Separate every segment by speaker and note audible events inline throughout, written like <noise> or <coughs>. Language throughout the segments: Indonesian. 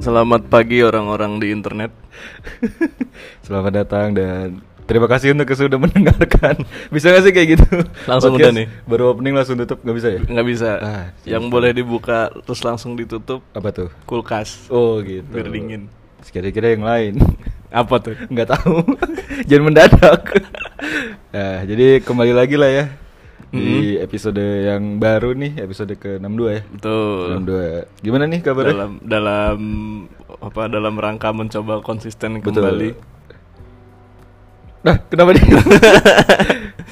Speaker 1: Selamat pagi orang-orang di internet.
Speaker 2: Selamat datang dan terima kasih untuk yang sudah mendengarkan. <laughs> Bisa gak sih kayak gitu?
Speaker 1: Langsung udah nih.
Speaker 2: Baru opening langsung tutup nggak bisa ya?
Speaker 1: Nggak bisa.
Speaker 2: Ah,
Speaker 1: Yang boleh dibuka terus langsung ditutup
Speaker 2: Apa tuh?
Speaker 1: kulkas.
Speaker 2: Oh gitu.
Speaker 1: Biar dingin.
Speaker 2: Terus Kira-kira yang lain.
Speaker 1: <laughs> Apa tuh?
Speaker 2: nggak tahu. <laughs> Jangan mendadak. <laughs> Nah, jadi kembali lagi lah ya di episode yang baru nih, episode ke-62 ya.
Speaker 1: Betul.
Speaker 2: 62. Gimana nih kabarnya?
Speaker 1: Dalam dalam apa dalam rangka mencoba konsisten kembali.
Speaker 2: Nah, kenapa
Speaker 1: <laughs>
Speaker 2: nih?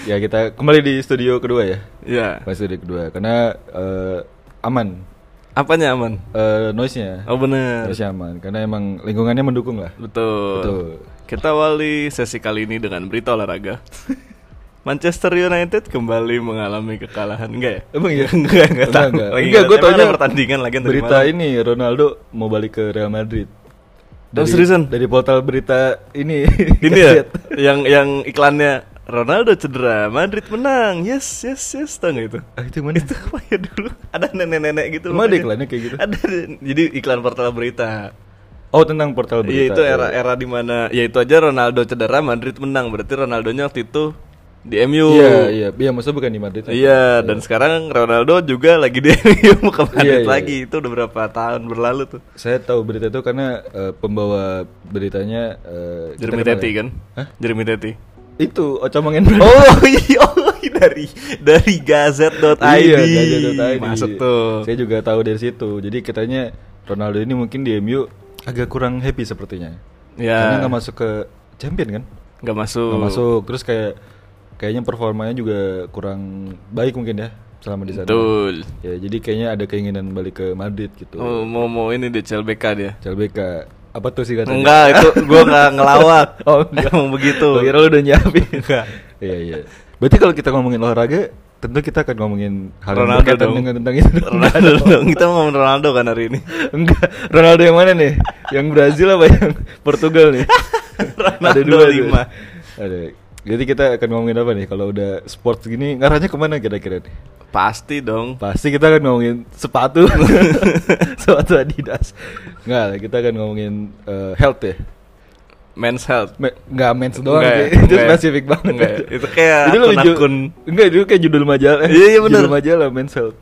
Speaker 2: ya kita kembali di studio kedua ya.
Speaker 1: Ya.
Speaker 2: Pas studio kedua karena eh, aman
Speaker 1: Apanya aman?
Speaker 2: eh noise-nya.
Speaker 1: Oh bener.
Speaker 2: Noise-nya aman karena emang lingkungannya mendukung lah.
Speaker 1: Betul.
Speaker 2: Ya, Betul.
Speaker 1: Kita awali sesi kali ini dengan berita olahraga. <laughs> Manchester United kembali mengalami kekalahan <laughs> enggak ya?
Speaker 2: Emang ya?
Speaker 1: Enggak, enggak tahu.
Speaker 2: Enggak,
Speaker 1: Lagi
Speaker 2: enggak.
Speaker 1: ngeliat
Speaker 2: gue
Speaker 1: emang
Speaker 2: taunya
Speaker 1: ada pertandingan lagi tadi
Speaker 2: Berita
Speaker 1: malam.
Speaker 2: ini Ronaldo mau balik ke Real Madrid.
Speaker 1: Oh, seriusan?
Speaker 2: Dari portal berita ini.
Speaker 1: <laughs>
Speaker 2: <laughs> Iya.
Speaker 1: Ini ya,
Speaker 2: Kaset.
Speaker 1: yang yang iklannya Ronaldo cedera, Madrid menang. Yes, yes, yes, tau gak itu?
Speaker 2: Ah, itu mana?
Speaker 1: Itu apa ya dulu? <laughs> Ada nenek-nenek gitu.
Speaker 2: Emang ada
Speaker 1: pokoknya.
Speaker 2: iklannya kayak gitu?
Speaker 1: Ada. Jadi iklan portal berita.
Speaker 2: Oh, tentang portal berita.
Speaker 1: Iya itu era-era di mana ya itu aja Ronaldo cedera, Madrid menang. Berarti Ronaldonya waktu itu di MU.
Speaker 2: Iya, iya. Iya, maksudnya bukan di Madrid.
Speaker 1: Iya, dan sekarang Ronaldo juga lagi di <laughs> MU mau ke Madrid
Speaker 2: Iya, iya,
Speaker 1: lagi. Itu udah berapa tahun berlalu tuh.
Speaker 2: Saya tahu berita itu karena eh, pembawa beritanya eh, kita
Speaker 1: Jeremy
Speaker 2: kenal
Speaker 1: Teti
Speaker 2: ya?
Speaker 1: kan? Jeremy Teti.
Speaker 2: Itu Ocha Mangen.
Speaker 1: <laughs> Oh iya, oh, dari dari gazet.id.
Speaker 2: Iya, Gajah.id.
Speaker 1: Masuk tuh.
Speaker 2: Saya juga tahu dari situ. Jadi katanya Ronaldo ini mungkin di MU agak kurang happy sepertinya. Karena
Speaker 1: Ya,
Speaker 2: nggak masuk ke champion kan?
Speaker 1: nggak masuk.
Speaker 2: Nggak masuk. Terus kayak kayaknya performanya juga kurang baik mungkin ya selama di sana.
Speaker 1: Betul.
Speaker 2: Ya, jadi kayaknya ada keinginan balik ke Madrid gitu.
Speaker 1: Oh, mau mau ini di CLBK dia.
Speaker 2: CLBK. Apa tuh sih katanya?
Speaker 1: Enggak, itu gua nggak ngelawak.
Speaker 2: <laughs> Oh, enggak.
Speaker 1: Emang begitu.
Speaker 2: Gua kira lu udah nyiapin. Iya, iya. Berarti kalau kita ngomongin olahraga, tentu kita akan ngomongin hal yang
Speaker 1: Ronaldo
Speaker 2: berkaitan
Speaker 1: dong.
Speaker 2: dengan tentang itu. <laughs>
Speaker 1: Ronaldo dong. Kita mau ngomongin Ronaldo kan hari ini.
Speaker 2: Enggak, Ronaldo yang mana nih? Yang Brazil apa yang Portugal nih?
Speaker 1: <laughs> Ronaldo
Speaker 2: tuh.
Speaker 1: lima.
Speaker 2: Ada. Jadi kita akan ngomongin apa nih? Kalau udah sport gini, ngarahnya kemana kira-kira nih?
Speaker 1: Pasti dong.
Speaker 2: Pasti kita akan ngomongin sepatu,
Speaker 1: <laughs>
Speaker 2: sepatu Adidas. Enggak, lah, kita akan ngomongin eh, health ya.
Speaker 1: Men's health.
Speaker 2: Me, enggak mens doang
Speaker 1: Enggak ya,
Speaker 2: sih. <laughs>
Speaker 1: enggak
Speaker 2: Itu
Speaker 1: ya.
Speaker 2: spesifik banget.
Speaker 1: Enggak ya, itu kayak
Speaker 2: Jadi lebih ju-
Speaker 1: akun-akun.
Speaker 2: Enggak, itu kayak judul majalah.
Speaker 1: Iya, iya, bener.
Speaker 2: Judul majalah mens health.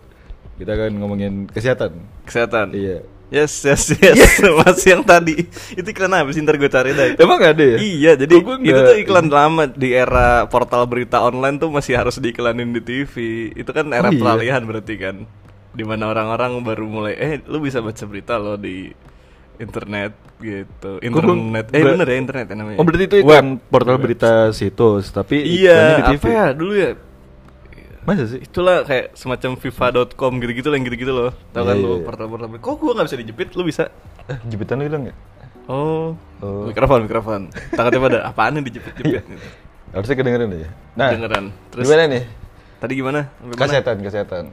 Speaker 2: Kita akan ngomongin kesehatan.
Speaker 1: Kesehatan.
Speaker 2: Iya.
Speaker 1: Yes, yes,
Speaker 2: <laughs>
Speaker 1: yes. Masih yang tadi. Itu iklan apa sih? Ntar gue cari dah.
Speaker 2: Emang ada ya?
Speaker 1: Iya, jadi
Speaker 2: Kok gua
Speaker 1: itu
Speaker 2: nggak-
Speaker 1: tuh iklan lama di era portal berita online tuh masih harus diiklanin di TV. Itu kan era
Speaker 2: Oh, iya.
Speaker 1: peralihan berarti kan. Dimana orang-orang baru mulai eh lu bisa baca berita lo di internet gitu.
Speaker 2: gua-
Speaker 1: Internet. Eh
Speaker 2: ber-
Speaker 1: bener ya internet ya namanya.
Speaker 2: Oh berarti itu iklan portal berita situs, tapi iklannya
Speaker 1: Iya,
Speaker 2: di TV.
Speaker 1: apa ya dulu ya?
Speaker 2: Masa sih?
Speaker 1: Itulah kayak semacam fifa.com gitu-gitu lah yang gitu-gitu loh. Tahu
Speaker 2: Iya,
Speaker 1: kan
Speaker 2: iya,
Speaker 1: lu
Speaker 2: iya.
Speaker 1: portal-portal. berita. Kok gua nggak bisa dijepit? Lu bisa?
Speaker 2: Eh, jepitan lu hilang ya?
Speaker 1: Oh.
Speaker 2: Oh.
Speaker 1: Mikrofon, mikrofon. Tangan pada apaan yang dijepit-jepit? gitu.
Speaker 2: Iya. Harusnya kedengeran ya. Nah,
Speaker 1: Kedengeran. Terus-
Speaker 2: gimana nih?
Speaker 1: Tadi gimana? Sampai mana?
Speaker 2: Kesehatan, kesehatan.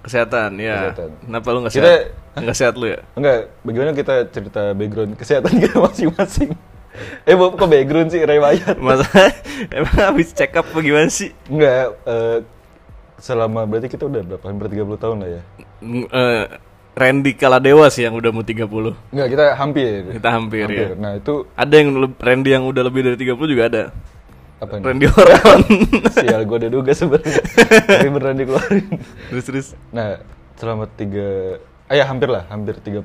Speaker 1: Kesehatan, ya.
Speaker 2: Kesehatan.
Speaker 1: Kenapa lu nggak sehat?
Speaker 2: Kita-
Speaker 1: Nggak sehat lu ya?
Speaker 2: Enggak, bagaimana kita cerita background kesehatan <laughs> kita masing-masing? Eh, Bob, kok background sih riwayat?
Speaker 1: Masa <laughs> emang habis check up apa gimana sih?
Speaker 2: Enggak, eh, selama berarti kita udah berapa? Hampir 30 tahun lah ya.
Speaker 1: Mm, eh, Randy Kaladewa sih yang udah mau 30.
Speaker 2: Enggak, kita hampir.
Speaker 1: Kita hampir, ya.
Speaker 2: Nah, itu
Speaker 1: Ada yang le- Randy yang udah lebih dari 30 juga ada.
Speaker 2: apa nih?
Speaker 1: Randy Orawan.
Speaker 2: Sial, gue udah duga sebenarnya. Tapi beneran dikeluarin.
Speaker 1: <laughs> terus terus.
Speaker 2: Nah, selama tiga, ah ya hampir lah, hampir 30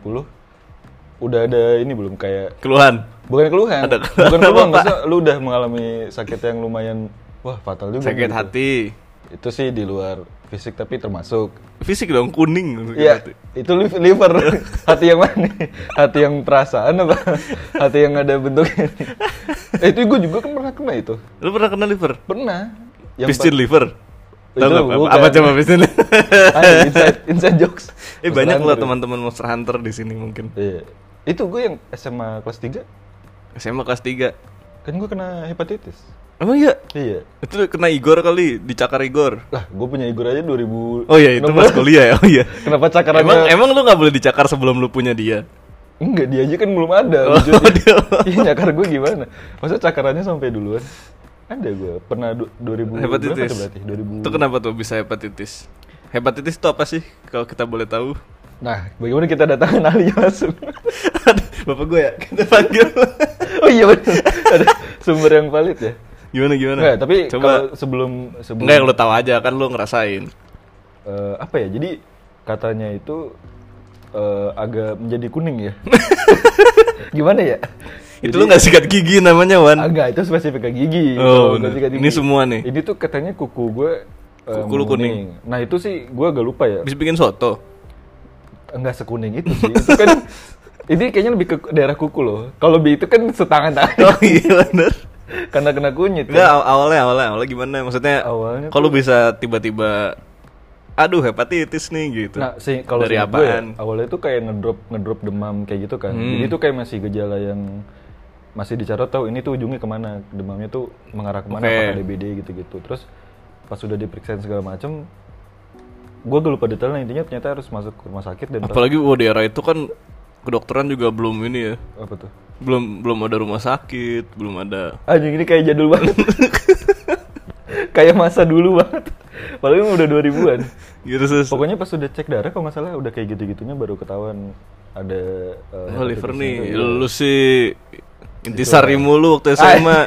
Speaker 2: udah ada ini belum kayak
Speaker 1: Keluhan.
Speaker 2: bukan keluhan,
Speaker 1: Ada
Speaker 2: bukan
Speaker 1: keluhan
Speaker 2: keluhan,
Speaker 1: apa?
Speaker 2: maksudnya lu udah mengalami sakit yang lumayan, wah fatal juga.
Speaker 1: Sakit
Speaker 2: gitu.
Speaker 1: hati.
Speaker 2: Itu sih di luar fisik tapi termasuk.
Speaker 1: Fisik dong kuning. sakit
Speaker 2: Iya,
Speaker 1: hati.
Speaker 2: itu liv-
Speaker 1: <laughs>
Speaker 2: liver. hati yang mana? Hati yang perasaan apa? Hati yang ada bentuknya. eh, itu gue juga kan pernah kena itu.
Speaker 1: Lu pernah kena liver?
Speaker 2: Pernah.
Speaker 1: Piston liver.
Speaker 2: Itu
Speaker 1: Tahu nggak apa?
Speaker 2: bukan.
Speaker 1: Apa coba piston?
Speaker 2: pa- Ah, inside, inside jokes.
Speaker 1: <laughs> eh banyak
Speaker 2: Terserah
Speaker 1: loh
Speaker 2: lu.
Speaker 1: teman-teman Monster Hunter di sini mungkin.
Speaker 2: Iya. Itu gue yang SMA kelas 3
Speaker 1: SMA kelas 3.
Speaker 2: kan gue kena hepatitis.
Speaker 1: Emang iya?
Speaker 2: Iya.
Speaker 1: Itu kena Igor kali, dicakar Igor.
Speaker 2: Lah, gue punya Igor aja 2000.
Speaker 1: Oh iya, itu pas kuliah ya. Oh iya.
Speaker 2: Kenapa cakarannya?
Speaker 1: emang emang lu nggak boleh dicakar sebelum lu punya dia.
Speaker 2: Enggak, dia aja kan belum ada
Speaker 1: Oh,
Speaker 2: wujudnya.
Speaker 1: dia-
Speaker 2: Iya, nyakar gue gimana? Masa cakarannya sampai duluan? Ada gue, pernah du- 2000 berapa tuh
Speaker 1: Hepatitis.
Speaker 2: berarti? 2000.
Speaker 1: Itu kenapa tuh bisa hepatitis? <laughs> Hepatitis itu apa sih kalau kita boleh tahu?
Speaker 2: Nah, bagaimana kita datangkan ahlinya langsung?
Speaker 1: Ada Bapak gue ya <laughs> kita panggil.
Speaker 2: <laughs> oh iya bener. ada sumber yang valid ya
Speaker 1: gimana gimana?
Speaker 2: Nggak, tapi
Speaker 1: coba
Speaker 2: kalau sebelum sebelum
Speaker 1: enggak yang lu tahu aja kan lu ngerasain.
Speaker 2: eh, apa ya jadi katanya itu eh, agak menjadi kuning
Speaker 1: <laughs>
Speaker 2: ya gimana ya
Speaker 1: Itu lu nggak sikat gigi namanya Wan.
Speaker 2: Ah, enggak itu spesifik ke gigi
Speaker 1: Kan? Oh,
Speaker 2: Kalau
Speaker 1: bener.
Speaker 2: sikat
Speaker 1: Ini semua nih.
Speaker 2: ini tuh katanya kuku gue eh,
Speaker 1: Kuku lu kuning.
Speaker 2: nah itu sih gue agak lupa ya
Speaker 1: Bisa bikin soto.
Speaker 2: enggak sekuning itu sih itu kan ini kayaknya lebih ke daerah kuku loh kalau bi itu kan setangan tangan
Speaker 1: <laughs> Oh iya bener.
Speaker 2: <laughs> karena kena kunyit
Speaker 1: Enggak
Speaker 2: kan.
Speaker 1: aw- awalnya awalnya awalnya gimana? Maksudnya
Speaker 2: Awalnya
Speaker 1: kalau bisa tiba-tiba aduh hepatitis nih gitu.
Speaker 2: Nah, sih kalau
Speaker 1: dari
Speaker 2: seingat gue ya,
Speaker 1: apaan?
Speaker 2: awalnya itu kayak ngedrop ngedrop demam kayak gitu kan.
Speaker 1: Hmm.
Speaker 2: Jadi itu kayak masih gejala yang masih dicatat tahu ini tuh ujungnya kemana demamnya tuh mengarah kemana
Speaker 1: Oke.
Speaker 2: apakah DBD gitu-gitu. Terus pas sudah diperiksa segala macem, gue gak lupa detailnya intinya ternyata harus masuk ke rumah sakit dan
Speaker 1: Apalagi wah, daerah itu kan kedokteran juga belum ini ya.
Speaker 2: apa tuh?
Speaker 1: Belum belum ada rumah sakit, belum ada.
Speaker 2: Anjing ini kayak
Speaker 1: <laughs>
Speaker 2: jadul banget. kayak masa dulu banget. Padahal ini udah 2000-an.
Speaker 1: Gitu sus.
Speaker 2: Pokoknya pas sudah cek darah kalau nggak salah udah kayak gitu-gitunya baru ketahuan ada eh,
Speaker 1: Oh, liver
Speaker 2: hepatitisnya
Speaker 1: nih.
Speaker 2: tuh.
Speaker 1: Lu sih
Speaker 2: ya.
Speaker 1: intisari mulu
Speaker 2: Ah.
Speaker 1: waktu SMA.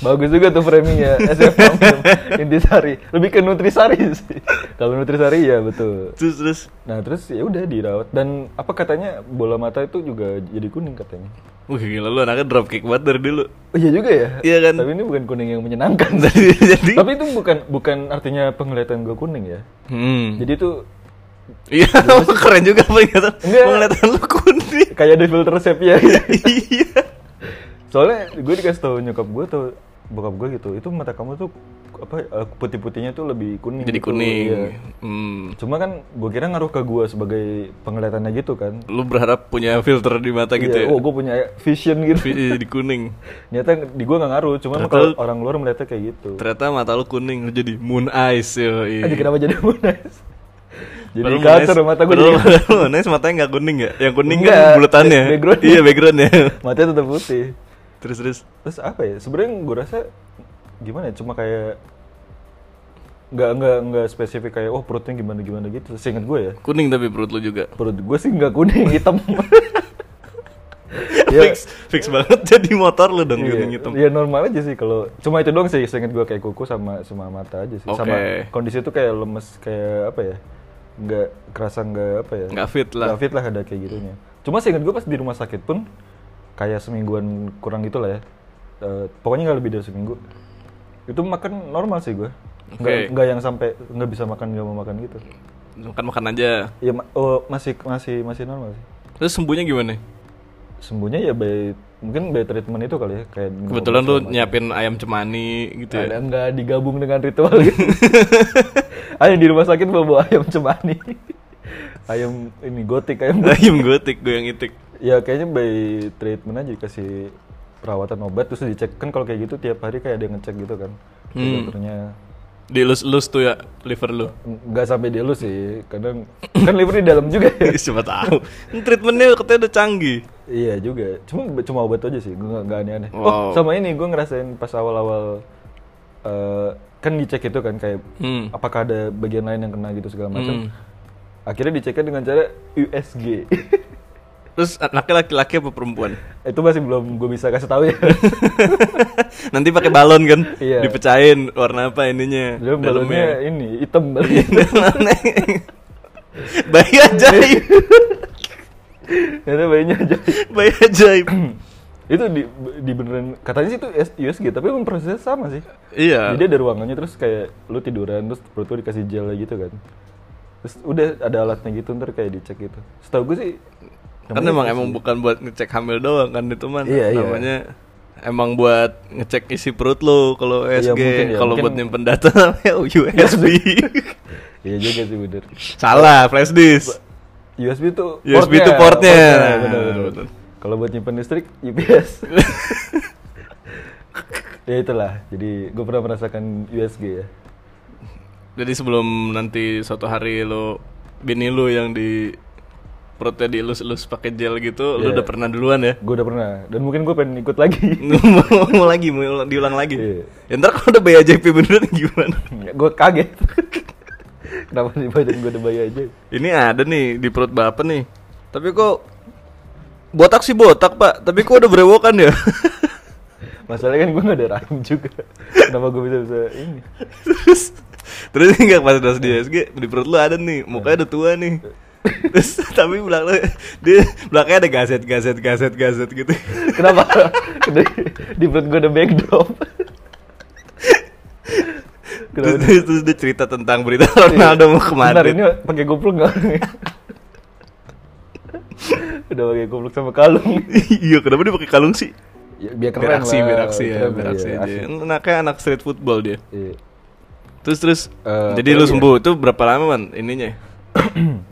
Speaker 2: Bagus juga tuh ya. <laughs> framingnya SF Pamflem Intisari Lebih ke Nutrisari sih Kalau Nutrisari ya betul
Speaker 1: terus terus
Speaker 2: Nah terus ya udah dirawat Dan apa katanya bola mata itu juga jadi kuning katanya
Speaker 1: Wih gila lu anaknya dropkick banget dari dulu
Speaker 2: Oh iya juga ya
Speaker 1: Iya kan?
Speaker 2: Tapi ini bukan kuning yang menyenangkan
Speaker 1: <laughs> Jadi
Speaker 2: Tapi itu bukan bukan artinya penglihatan gue kuning ya
Speaker 1: Hmm
Speaker 2: Jadi itu
Speaker 1: Iya <laughs> keren juga penglihatan
Speaker 2: Enggak.
Speaker 1: Penglihatan lu
Speaker 2: <laughs>
Speaker 1: kuning
Speaker 2: kayak ada filter sepia
Speaker 1: Iya
Speaker 2: <laughs> Soalnya gue dikasih tau nyokap gue tuh Bokap gue gitu Itu mata kamu tuh apa eh, putih-putihnya tuh lebih kuning
Speaker 1: Jadi
Speaker 2: gitu."
Speaker 1: kuning
Speaker 2: Iya.
Speaker 1: hmm.
Speaker 2: Cuma kan gue kira ngaruh ke gue sebagai penglihatannya gitu kan.
Speaker 1: Lu berharap punya filter di mata gitu
Speaker 2: Iya,
Speaker 1: ya
Speaker 2: Oh gue punya vision gitu.
Speaker 1: Vi- Jadi kuning
Speaker 2: <laughs> Ternyata di gue gak ngaruh. Cuma
Speaker 1: Ternyata
Speaker 2: kalau
Speaker 1: lu-
Speaker 2: orang luar melihatnya kayak gitu.
Speaker 1: Ternyata mata lu kuning lu jadi moon eyes yoi.
Speaker 2: Aduh kenapa jadi munas?
Speaker 1: <laughs>
Speaker 2: jadi
Speaker 1: Iya. Padahal moon
Speaker 2: kacau
Speaker 1: eyes-
Speaker 2: mata gue
Speaker 1: padahal- <laughs>
Speaker 2: jadi
Speaker 1: padahal Moon eyes matanya nggak kuning ya Yang kuning
Speaker 2: Enggak, eh,
Speaker 1: kan bulatannya
Speaker 2: background.
Speaker 1: Iya backgroundnya
Speaker 2: <laughs>
Speaker 1: <laughs>
Speaker 2: matanya tetap putih.
Speaker 1: Terus terus
Speaker 2: Terus apa ya? Sebenarnya gue rasa gimana? ya, Cuma kayak nggak nggak nggak spesifik kayak oh perutnya gimana gimana gitu. Seingat gue ya
Speaker 1: Kuning tapi perut lu <laughs> juga
Speaker 2: perut gue sih nggak kuning <laughs> hitam. Ya.
Speaker 1: Fix fix banget <laughs> jadi motor lu dong kuning
Speaker 2: Iya,
Speaker 1: hitam
Speaker 2: iya, normal aja sih kalau cuma itu doang sih seinget gue kayak kuku sama sama mata aja sih. Sama
Speaker 1: Oke.
Speaker 2: kondisi itu kayak lemes kayak apa ya? Nggak kerasa nggak apa ya?
Speaker 1: Nggak fit lah.
Speaker 2: Nggak fit lah ada kayak gitunya. Cuma seinget gue pas di rumah sakit pun kayak semingguan kurang gitu lah ya. Eh, pokoknya nggak lebih dari seminggu. Itu makan normal sih gue.
Speaker 1: Oke.
Speaker 2: Nggak nggak yang sampai nggak bisa makan nggak mau makan gitu.
Speaker 1: Makan makan aja
Speaker 2: Ya ma- oh, masih masih masih normal sih.
Speaker 1: Terus sembuhnya gimana?
Speaker 2: Sembuhnya ya by mungkin by treatment itu kali ya kayak minum
Speaker 1: Kebetulan
Speaker 2: obat
Speaker 1: lu
Speaker 2: segala macam.
Speaker 1: nyiapin ayam cemani gitu ya.
Speaker 2: Ada nggak digabung dengan ritual <laughs> gitu. Ada yang di rumah sakit bawa, bawa ayam cemani. ayam ini gotik ayam. gotik.
Speaker 1: <laughs> Ayam gotik, goyang itik.
Speaker 2: ya kayaknya by treatment aja kasih perawatan obat terus dicek kan kalau kayak gitu tiap hari kayak ada yang ngecek gitu kan. Kayak Dokternya
Speaker 1: Dilus-lus tuh ya liver lu.
Speaker 2: nggak sampai dia lu sih kadang kan liver di dalam juga <laughs> ya.
Speaker 1: <laughs> Siapa tahu. Treatmentnya katanya udah canggih.
Speaker 2: Iya juga, cuma cuma obat aja sih, gue nggak aneh-aneh.
Speaker 1: Wow.
Speaker 2: Oh sama ini gue ngerasain pas awal-awal eh, kan dicek itu kan kayak
Speaker 1: Hmm.
Speaker 2: apakah ada bagian lain yang kena gitu segala macam.
Speaker 1: Hmm.
Speaker 2: Akhirnya diceknya dengan cara USG.
Speaker 1: Terus anaknya laki-laki apa perempuan?
Speaker 2: <laughs> itu masih belum gue bisa kasih
Speaker 1: <laughs>
Speaker 2: tahu ya.
Speaker 1: Nanti pakai balon kan?
Speaker 2: Iya.
Speaker 1: Dipecahin warna apa ininya?
Speaker 2: Dia balonnya ini
Speaker 1: <laughs>
Speaker 2: hitam
Speaker 1: dalamnya.
Speaker 2: banget.
Speaker 1: Dalamnya. Bayi ajaib.
Speaker 2: Ternyata bayinya aja.
Speaker 1: Bayi ajaib.
Speaker 2: itu di, di beneran katanya sih itu USG tapi emang prosesnya sama sih.
Speaker 1: iya.
Speaker 2: <clears throat> Jadi ada ruangannya terus kayak lu tiduran terus perut lu dikasih gel gitu kan. Terus udah ada alatnya gitu ntar kayak dicek gitu. Setahu gue sih
Speaker 1: Kan emang
Speaker 2: namanya itu
Speaker 1: emang
Speaker 2: sih.
Speaker 1: bukan buat ngecek hamil doang kan itu man
Speaker 2: Iya, iya.
Speaker 1: namanya emang buat ngecek isi perut lo kalau
Speaker 2: Iya,
Speaker 1: USG
Speaker 2: mungkin ya,
Speaker 1: kalau
Speaker 2: mungkin.
Speaker 1: buat nyimpen data namanya
Speaker 2: <laughs>
Speaker 1: USB
Speaker 2: Iya juga sih bener.
Speaker 1: <laughs> salah flash disk
Speaker 2: USB itu
Speaker 1: USB itu portnya.
Speaker 2: bener, bener.
Speaker 1: Bener.
Speaker 2: Kalau buat nyimpen listrik UPS. ya itulah. Jadi gue pernah merasakan USG ya.
Speaker 1: jadi sebelum nanti suatu hari lo bini lo yang di perutnya dielus-elus pakai gel gitu lo
Speaker 2: Iya.
Speaker 1: udah pernah duluan ya
Speaker 2: Gue udah pernah dan mungkin gue pengen ikut lagi. <laughs>
Speaker 1: mau, mau lagi mau ulang- diulang lagi
Speaker 2: Iya.
Speaker 1: ya, ntar kalau udah BAJP beneran gimana
Speaker 2: gue kaget. <laughs> Kenapa di badan gue ada bayi aja?
Speaker 1: Ini ada nih di perut bapak nih. Tapi kok Botak sih botak pak, tapi kok udah berewokan ya?
Speaker 2: Masalahnya kan gue gak ada rahim juga. Kenapa gue bisa bisa ini?
Speaker 1: terus terus enggak pas pas di SG di perut lu ada nih mukanya udah tua nih terus tapi belakang dia belakangnya ada gaset gaset gaset gaset gitu
Speaker 2: Kenapa? <laughs> di, di perut gue ada backdrop. <laughs>
Speaker 1: terus, terus, terus dia cerita tentang berita Ronaldo mau kemana
Speaker 2: Iya. Bentar, ini pakai goplok nggak? Udah pakai goplok sama kalung.
Speaker 1: iya kenapa dia pakai kalung sih
Speaker 2: Ya, biar keren
Speaker 1: beraksi
Speaker 2: lah.
Speaker 1: beraksi ya
Speaker 2: Keren lah,
Speaker 1: beraksi
Speaker 2: iya,
Speaker 1: aja
Speaker 2: asik.
Speaker 1: anaknya anak street football dia
Speaker 2: Iya.
Speaker 1: terus terus
Speaker 2: Eh,
Speaker 1: jadi
Speaker 2: apa
Speaker 1: lu
Speaker 2: lagi ya?
Speaker 1: sembuh itu berapa lama man
Speaker 2: <clears throat>
Speaker 1: ininya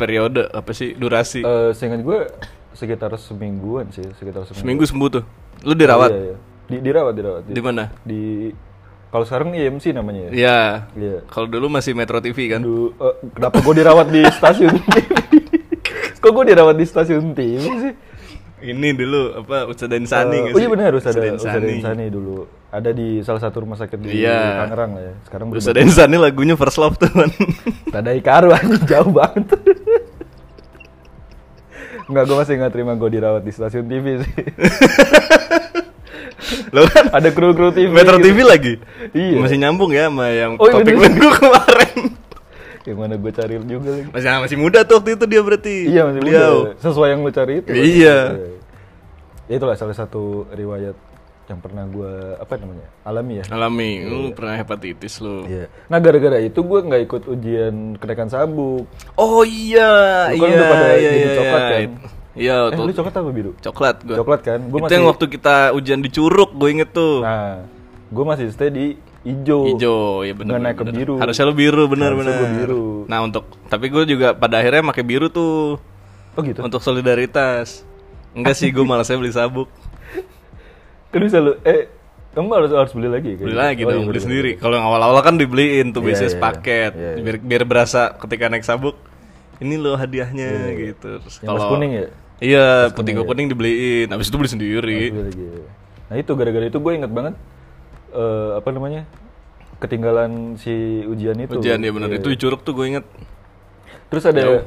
Speaker 1: periode apa sih durasi
Speaker 2: Eh, seingat gue sekitar semingguan sih, sekitar seminggu.
Speaker 1: seminggu sembuh tuh lu dirawat
Speaker 2: Iya, iya. Di, dirawat, dirawat. iya.
Speaker 1: di mana
Speaker 2: Di kalau sekarang IMC namanya ya.
Speaker 1: ya
Speaker 2: Iya.
Speaker 1: kalau dulu masih Metro TV kan
Speaker 2: Aduh, eh, kenapa gue dirawat di stasiun TV? <laughs> Kok gue dirawat di stasiun TV sih?
Speaker 1: Ini dulu apa Usada Insani
Speaker 2: Eh,
Speaker 1: nggak
Speaker 2: oh
Speaker 1: sih?
Speaker 2: iya benar harus ada
Speaker 1: Usada
Speaker 2: Ustaz
Speaker 1: Insani.
Speaker 2: Insani dulu. Ada di salah satu rumah sakit di
Speaker 1: Iya.
Speaker 2: Tangerang lah ya. Sekarang berubah.
Speaker 1: Usada Insani lagunya First Love tuh kan.
Speaker 2: <laughs> Tadai Karu anjing jauh banget. <laughs> Enggak, gue masih nggak terima gue dirawat di stasiun TV sih. <laughs>
Speaker 1: Lo kan
Speaker 2: Ada kru-kru TV.
Speaker 1: Metro
Speaker 2: Iya, gitu.
Speaker 1: TV lagi.
Speaker 2: Iya.
Speaker 1: Masih nyambung ya sama yang
Speaker 2: Oh, iya,
Speaker 1: topik
Speaker 2: bener.
Speaker 1: minggu kemarin.
Speaker 2: Yang mana gue cari juga lagi.
Speaker 1: Masih ah, masih muda tuh waktu itu dia berarti.
Speaker 2: Iya masih
Speaker 1: beliau.
Speaker 2: muda. Sesuai yang lu cari itu.
Speaker 1: Iya.
Speaker 2: Ya, itulah salah satu riwayat yang pernah gue apa namanya alami ya.
Speaker 1: Alami, lu pernah hepatitis lu.
Speaker 2: Iya. Nah gara-gara itu gue nggak ikut ujian kenaikan sabuk.
Speaker 1: Oh iya,
Speaker 2: Lu kan
Speaker 1: iya,
Speaker 2: udah pada
Speaker 1: iya,
Speaker 2: jadi
Speaker 1: iya,
Speaker 2: coklat,
Speaker 1: iya.
Speaker 2: kan?
Speaker 1: Iya,
Speaker 2: eh
Speaker 1: tuh-
Speaker 2: lu coklat apa biru?
Speaker 1: coklat gua.
Speaker 2: Coklat kan? Gua
Speaker 1: itu
Speaker 2: masih-
Speaker 1: yang waktu kita ujian di Curug, gue inget tuh.
Speaker 2: Nah gue masih stay di ijo.
Speaker 1: Ijo, ya benar.
Speaker 2: Nggak naik ke biru.
Speaker 1: Harusnya lu biru, benar-benar.
Speaker 2: Harusnya gua biru.
Speaker 1: Nah untuk, tapi gue juga pada akhirnya pakai biru tuh
Speaker 2: Oh gitu.
Speaker 1: untuk solidaritas. Enggak sih, gue malah saya beli
Speaker 2: <laughs>
Speaker 1: sabuk.
Speaker 2: Kan bisa lu eh kamu harus harus beli lagi kan?
Speaker 1: Beli lagi dong, beli sendiri. Kalau yang awal-awal kan dibeliin tuh
Speaker 2: Iya,
Speaker 1: biasanya
Speaker 2: iya,
Speaker 1: paket,
Speaker 2: iya, iya.
Speaker 1: biar biar berasa ketika naik sabuk. Ini loh hadiahnya gitu. Terus
Speaker 2: Iya, Yang mas kuning ya?
Speaker 1: Iya, putih gua kuning dibeliin. Habis itu beli sendiri.
Speaker 2: Beli lagi. Nah itu gara-gara itu gue inget banget eh apa namanya ketinggalan si ujian itu.
Speaker 1: Ujian ya
Speaker 2: Iya,
Speaker 1: benar. Itu di curug tuh gue inget.
Speaker 2: Terus ada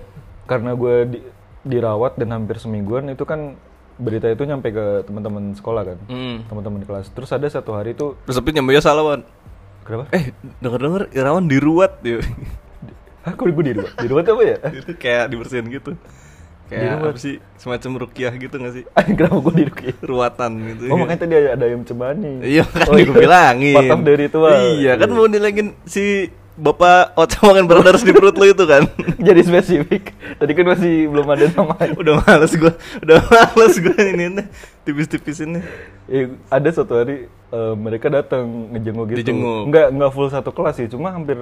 Speaker 2: karena gue di- dirawat dan hampir semingguan itu kan berita itu nyampe ke teman-teman sekolah kan,
Speaker 1: Hmm.
Speaker 2: teman-teman kelas. Terus ada satu hari itu
Speaker 1: Terus tapi nyambungnya salah, Wan.
Speaker 2: kenapa?
Speaker 1: Eh, denger-denger Irawan diruat
Speaker 2: <laughs>
Speaker 1: dia.
Speaker 2: Hah, kok gue dirawat? Dirawat apa ya? <laughs>
Speaker 1: itu kayak dibersihin gitu. Kayak apa sih? Semacam rukiah gitu gak sih?
Speaker 2: Anjing, kenapa gue dirawat?
Speaker 1: Ruatan gitu.
Speaker 2: Oh makanya tadi ada, ada ayam cemani.
Speaker 1: <laughs> Iya kan
Speaker 2: Oh,
Speaker 1: gue bilangin.
Speaker 2: Part of the ritual.
Speaker 1: Iya kan mau nilangin si bapak otak makan brothers di perut lu itu
Speaker 2: <laughs>
Speaker 1: kan.
Speaker 2: Jadi spesifik. Tadi kan masih belum ada namanya.
Speaker 1: udah males gue, udah males gue ini tipis-tipisinnya.
Speaker 2: <laughs> Eh, ada satu hari eh, mereka datang ngejenguk gitu.
Speaker 1: Dijenguk.
Speaker 2: Enggak enggak full satu kelas sih, cuma hampir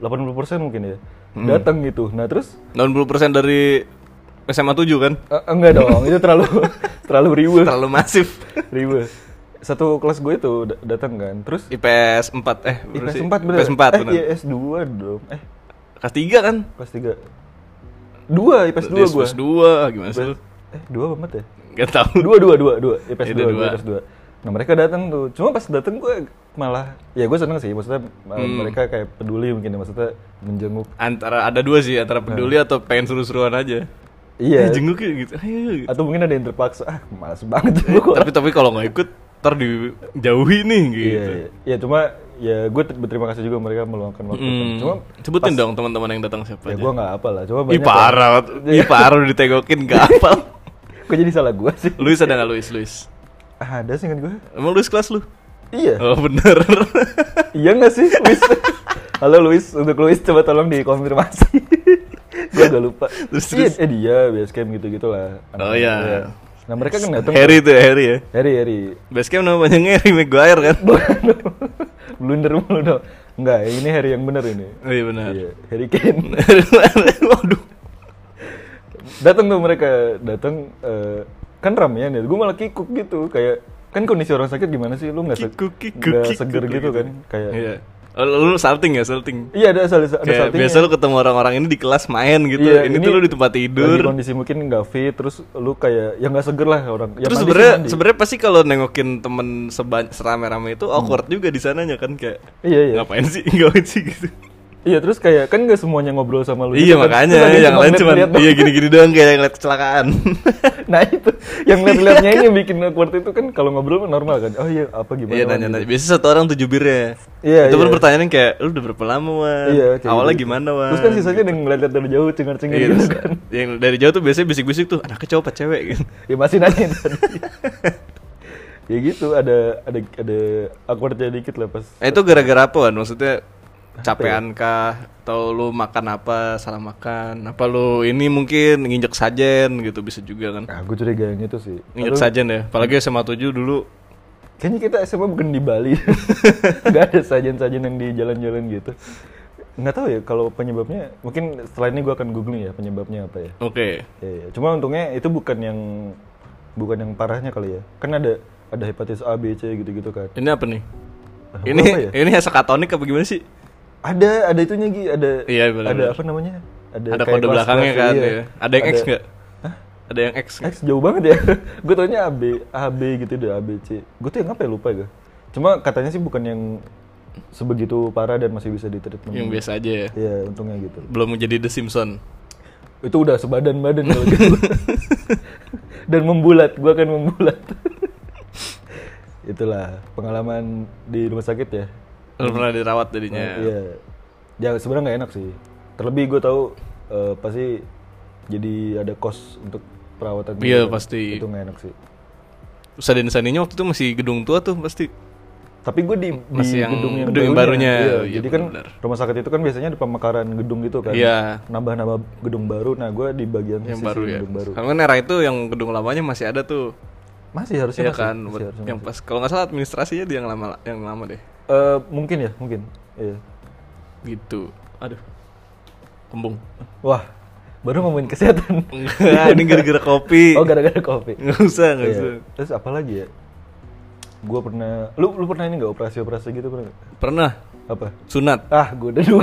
Speaker 2: 80% mungkin ya. Datang gitu. Nah, terus
Speaker 1: 90% dari SMA 7 kan
Speaker 2: eh, enggak dong, itu terlalu <laughs> terlalu riweuh.
Speaker 1: terlalu masif.
Speaker 2: Riweuh. Satu kelas gue itu da- datang kan. Terus
Speaker 1: IPS 4 eh berapa Iya,
Speaker 2: IPS
Speaker 1: sih?
Speaker 2: 4 bener.
Speaker 1: IPS 4
Speaker 2: eh,
Speaker 1: benar.
Speaker 2: IPS 2 dong. Eh,
Speaker 1: Kelas 3 kan?
Speaker 2: kelas 3. 2 IPS 2 gue.
Speaker 1: Kelas 2 gimana sih lu?
Speaker 2: Eh, 2 apa empat ya?
Speaker 1: Gak tahu.
Speaker 2: dua dua dua dua
Speaker 1: Itu Iya,
Speaker 2: IPS dua
Speaker 1: dua.
Speaker 2: dua IPS dua nah mereka datang tuh cuma pas datang gue malah ya gue seneng sih maksudnya uh,
Speaker 1: Hmm.
Speaker 2: mereka kayak peduli mungkin ya, maksudnya menjenguk
Speaker 1: Antara ada dua sih, antara peduli atau pengen seru-seruan aja. Eh,
Speaker 2: Nah. iya
Speaker 1: jenguk yuk, gitu. Ayo,
Speaker 2: atau mungkin ada yang terpaksa ah malas banget gue
Speaker 1: Iya, tapi tapi kalau nggak ikut ntar dijauhi nih
Speaker 2: iya
Speaker 1: gitu.
Speaker 2: iya. ya cuma ya gue ter- berterima kasih juga mereka meluangkan waktu
Speaker 1: Hmm,
Speaker 2: cuma
Speaker 1: sebutin dong teman-teman yang datang siapa
Speaker 2: ya
Speaker 1: aja.
Speaker 2: gue nggak apa lah cuma
Speaker 1: Ih
Speaker 2: banyak ya. Iya.
Speaker 1: parah, ih parah udah ditegokin
Speaker 2: <laughs>
Speaker 1: gak apa.
Speaker 2: gue jadi salah gue sih
Speaker 1: Luis ada nggak Luis? Luis.
Speaker 2: ah, ada sih kan gue
Speaker 1: Emang Luis kelas lu?
Speaker 2: iya
Speaker 1: Oh bener.
Speaker 2: iya nggak sih Luis <laughs> halo Luis untuk Luis coba tolong dikonfirmasi <laughs> gue gak lupa
Speaker 1: Terus,
Speaker 2: iya eh dia basecamp gitu gitulah
Speaker 1: Oh, iya.
Speaker 2: nah mereka kan datang
Speaker 1: Harry tuh Harry ya.
Speaker 2: Harry Harry <laughs>
Speaker 1: Basecamp namanya Harry Maguire kan?
Speaker 2: blunder mulu dong nggak ini Harry yang bener ini
Speaker 1: Oh iya benar.
Speaker 2: iya Harry Kane
Speaker 1: <laughs> Waduh.
Speaker 2: datang tuh mereka datang eh, kan ramean ya gue malah kikuk gitu kayak kan kondisi orang sakit gimana sih lu nggak se-
Speaker 1: Kikuk, kikuk,
Speaker 2: nggak
Speaker 1: kikuk
Speaker 2: seger gitu kan kayak
Speaker 1: Iya. Oh, lu salting ya salting.
Speaker 2: iya ada salah ada
Speaker 1: Kayak
Speaker 2: saltingnya.
Speaker 1: biasa lu ketemu orang-orang ini di kelas main gitu.
Speaker 2: Iya,
Speaker 1: ini, tuh lu di tempat tidur.
Speaker 2: lagi kondisi ya, mungkin nggak fit terus lu kayak ya nggak seger lah orang ya
Speaker 1: Terus
Speaker 2: mandi sih
Speaker 1: sebenarnya
Speaker 2: mandi.
Speaker 1: sebenarnya pasti kalau nengokin temen serame-rame itu awkward juga di sananya kan kayak
Speaker 2: Hmm. iya iya
Speaker 1: <laughs> ngapain sih ngapain sih gitu.
Speaker 2: Iya terus kayak kan gak semuanya ngobrol sama lu.
Speaker 1: iya
Speaker 2: gitu kan.
Speaker 1: makanya
Speaker 2: Terus ada
Speaker 1: yang lain cuma
Speaker 2: ngeliat-ngeliat
Speaker 1: iya
Speaker 2: doang.
Speaker 1: gini-gini doang kayak ngeliat kecelakaan.
Speaker 2: <laughs> Nah itu yang lihat-lihatnya
Speaker 1: <laughs>
Speaker 2: ini yang bikin awkward itu kan kalau ngobrol mah normal kan. Oh iya apa <laughs> gimana?
Speaker 1: Iya
Speaker 2: Wan,
Speaker 1: nanya-nanya.
Speaker 2: gitu.
Speaker 1: Biasanya satu orang tujuh bir ya.
Speaker 2: Iya,
Speaker 1: Itu pun
Speaker 2: iya.
Speaker 1: pertanyaan kayak lu udah berapa lama wan?
Speaker 2: Iya, kayak
Speaker 1: Awalnya
Speaker 2: gitu.
Speaker 1: gimana wan?
Speaker 2: Terus kan sisanya ada yang ngeliat-liat dari jauh cengar-cengir
Speaker 1: Iya,
Speaker 2: gitu
Speaker 1: terus
Speaker 2: kan.
Speaker 1: yang dari jauh tuh biasanya bisik-bisik tuh anaknya cowok apa cewek gitu.
Speaker 2: Ya masih nanya
Speaker 1: <laughs>
Speaker 2: tadi. ya gitu ada ada ada awkwardnya dikit lah pas.
Speaker 1: Eh, itu gara-gara apa ya? Wan? Maksudnya capean kah? Atau lu makan apa? Salah makan? Apa lu ini mungkin nginjek sajen gitu bisa juga kan?
Speaker 2: Nah, gue curiga yang itu sih.
Speaker 1: Nginjek sajen ya. Apalagi SMA 7 dulu
Speaker 2: Kayaknya kita SMA bukan di Bali. <laughs> Gak ada sajen-sajen yang di jalan-jalan gitu. Nggak tahu ya kalau penyebabnya. Mungkin setelah ini gue akan googling ya penyebabnya apa ya.
Speaker 1: Oke.
Speaker 2: Ya, ya. Cuma untungnya itu bukan yang bukan yang parahnya kali ya. Kan ada ada hepatitis A, B, C gitu-gitu kan.
Speaker 1: Ini apa nih?
Speaker 2: Nah,
Speaker 1: Ini
Speaker 2: apa ya?
Speaker 1: <laughs> ini sakatonik apa gimana sih?
Speaker 2: Ada ada itunya Gi, ada
Speaker 1: Iya, benar,
Speaker 2: ada
Speaker 1: benar.
Speaker 2: apa namanya?
Speaker 1: Ada
Speaker 2: kayak
Speaker 1: kode
Speaker 2: kelas-kelas
Speaker 1: belakangnya kan
Speaker 2: iya.
Speaker 1: ya. Ada yang X nggak? Ada yang X nggak?
Speaker 2: X jauh banget ya. <laughs> gue taunya AB, AB gitu deh, ABC. Gue tuh yang apa ya lupa ya. Cuma katanya sih bukan yang sebegitu parah dan masih bisa ditreatment.
Speaker 1: Yang biasa aja ya.
Speaker 2: Iya, untungnya gitu.
Speaker 1: Belum menjadi The Simpson.
Speaker 2: Itu udah sebadan-badan kalau gitu. <laughs> dan membulat, gue akan membulat. <laughs> Itulah pengalaman di rumah sakit ya.
Speaker 1: Lu pernah dirawat jadinya.
Speaker 2: Iya. Ya sebenarnya nggak enak sih. Terlebih gue tahu eh, pasti jadi ada kos untuk perawatan.
Speaker 1: Iya,
Speaker 2: gitu.
Speaker 1: pasti.
Speaker 2: Itu nggak enak sih.
Speaker 1: Saden-sadennya waktu itu masih gedung tua tuh pasti.
Speaker 2: Tapi gue di, di
Speaker 1: Masih yang-
Speaker 2: gedung yang,
Speaker 1: gedung yang
Speaker 2: barunya.
Speaker 1: barunya.
Speaker 2: Iya,
Speaker 1: Iya,
Speaker 2: jadi kan
Speaker 1: benar.
Speaker 2: rumah sakit itu kan biasanya ada pemekaran gedung gitu kan.
Speaker 1: Iya.
Speaker 2: Nambah-nambah gedung baru. Nah gue di bagian
Speaker 1: yang
Speaker 2: sisi
Speaker 1: baru ya.
Speaker 2: gedung baru.
Speaker 1: Karena kan era itu yang gedung lamanya masih ada tuh.
Speaker 2: Masih
Speaker 1: Iya
Speaker 2: harusnya masih,
Speaker 1: kan,
Speaker 2: masih
Speaker 1: buat-
Speaker 2: harusnya
Speaker 1: yang
Speaker 2: masih.
Speaker 1: pas kalau nggak salah administrasinya dia yang lama yang lama deh.
Speaker 2: Eh, mungkin ya mungkin. Iya.
Speaker 1: Gitu. Aduh. Kembung. <laughs>
Speaker 2: Wah baru ngomongin kesehatan.
Speaker 1: Enggak, ini gara-gara kopi.
Speaker 2: <laughs> oh gara-gara kopi.
Speaker 1: Iya. Nggak usah, nggak
Speaker 2: Iya.
Speaker 1: usah.
Speaker 2: Terus apa lagi ya? Gue pernah, lu lu pernah ini nggak operasi-operasi gitu pernah nggak?
Speaker 1: Pernah
Speaker 2: Apa?
Speaker 1: sunat.
Speaker 2: Ah, gue udah
Speaker 1: <laughs>
Speaker 2: dua.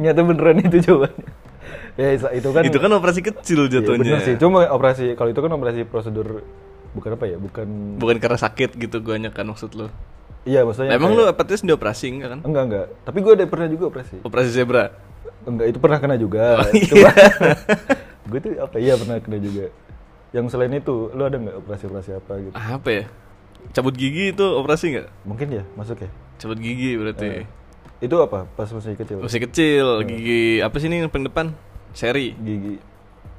Speaker 2: Nyata beneran itu jawabannya. ya isa- itu kan.
Speaker 1: itu kan operasi kecil
Speaker 2: iya, bener
Speaker 1: jatuhnya. ya.
Speaker 2: sih. Cuma operasi kalau itu kan operasi prosedur bukan apa ya? Bukan.
Speaker 1: Bukan karena sakit gitu guanya kan maksud lu.
Speaker 2: Iya maksudnya.
Speaker 1: Lah, emang lu
Speaker 2: kayak-
Speaker 1: hepatitis dioperasi enggak kan?
Speaker 2: Enggak enggak. Tapi gue ada pernah juga operasi.
Speaker 1: Operasi zebra.
Speaker 2: Enggak itu pernah kena juga.
Speaker 1: Oh, iya.
Speaker 2: Cuma <laughs> gue tuh apa? Iya pernah kena juga. Yang selain itu, lu ada nggak operasi-operasi apa gitu?
Speaker 1: Apa ya? Cabut gigi itu operasi nggak?
Speaker 2: Mungkin ya masuk ya.
Speaker 1: Cabut gigi berarti.
Speaker 2: Iya. Itu apa? Pas masih kecil.
Speaker 1: Masih kecil, gigi apa sih ini yang paling depan? Seri.
Speaker 2: Gigi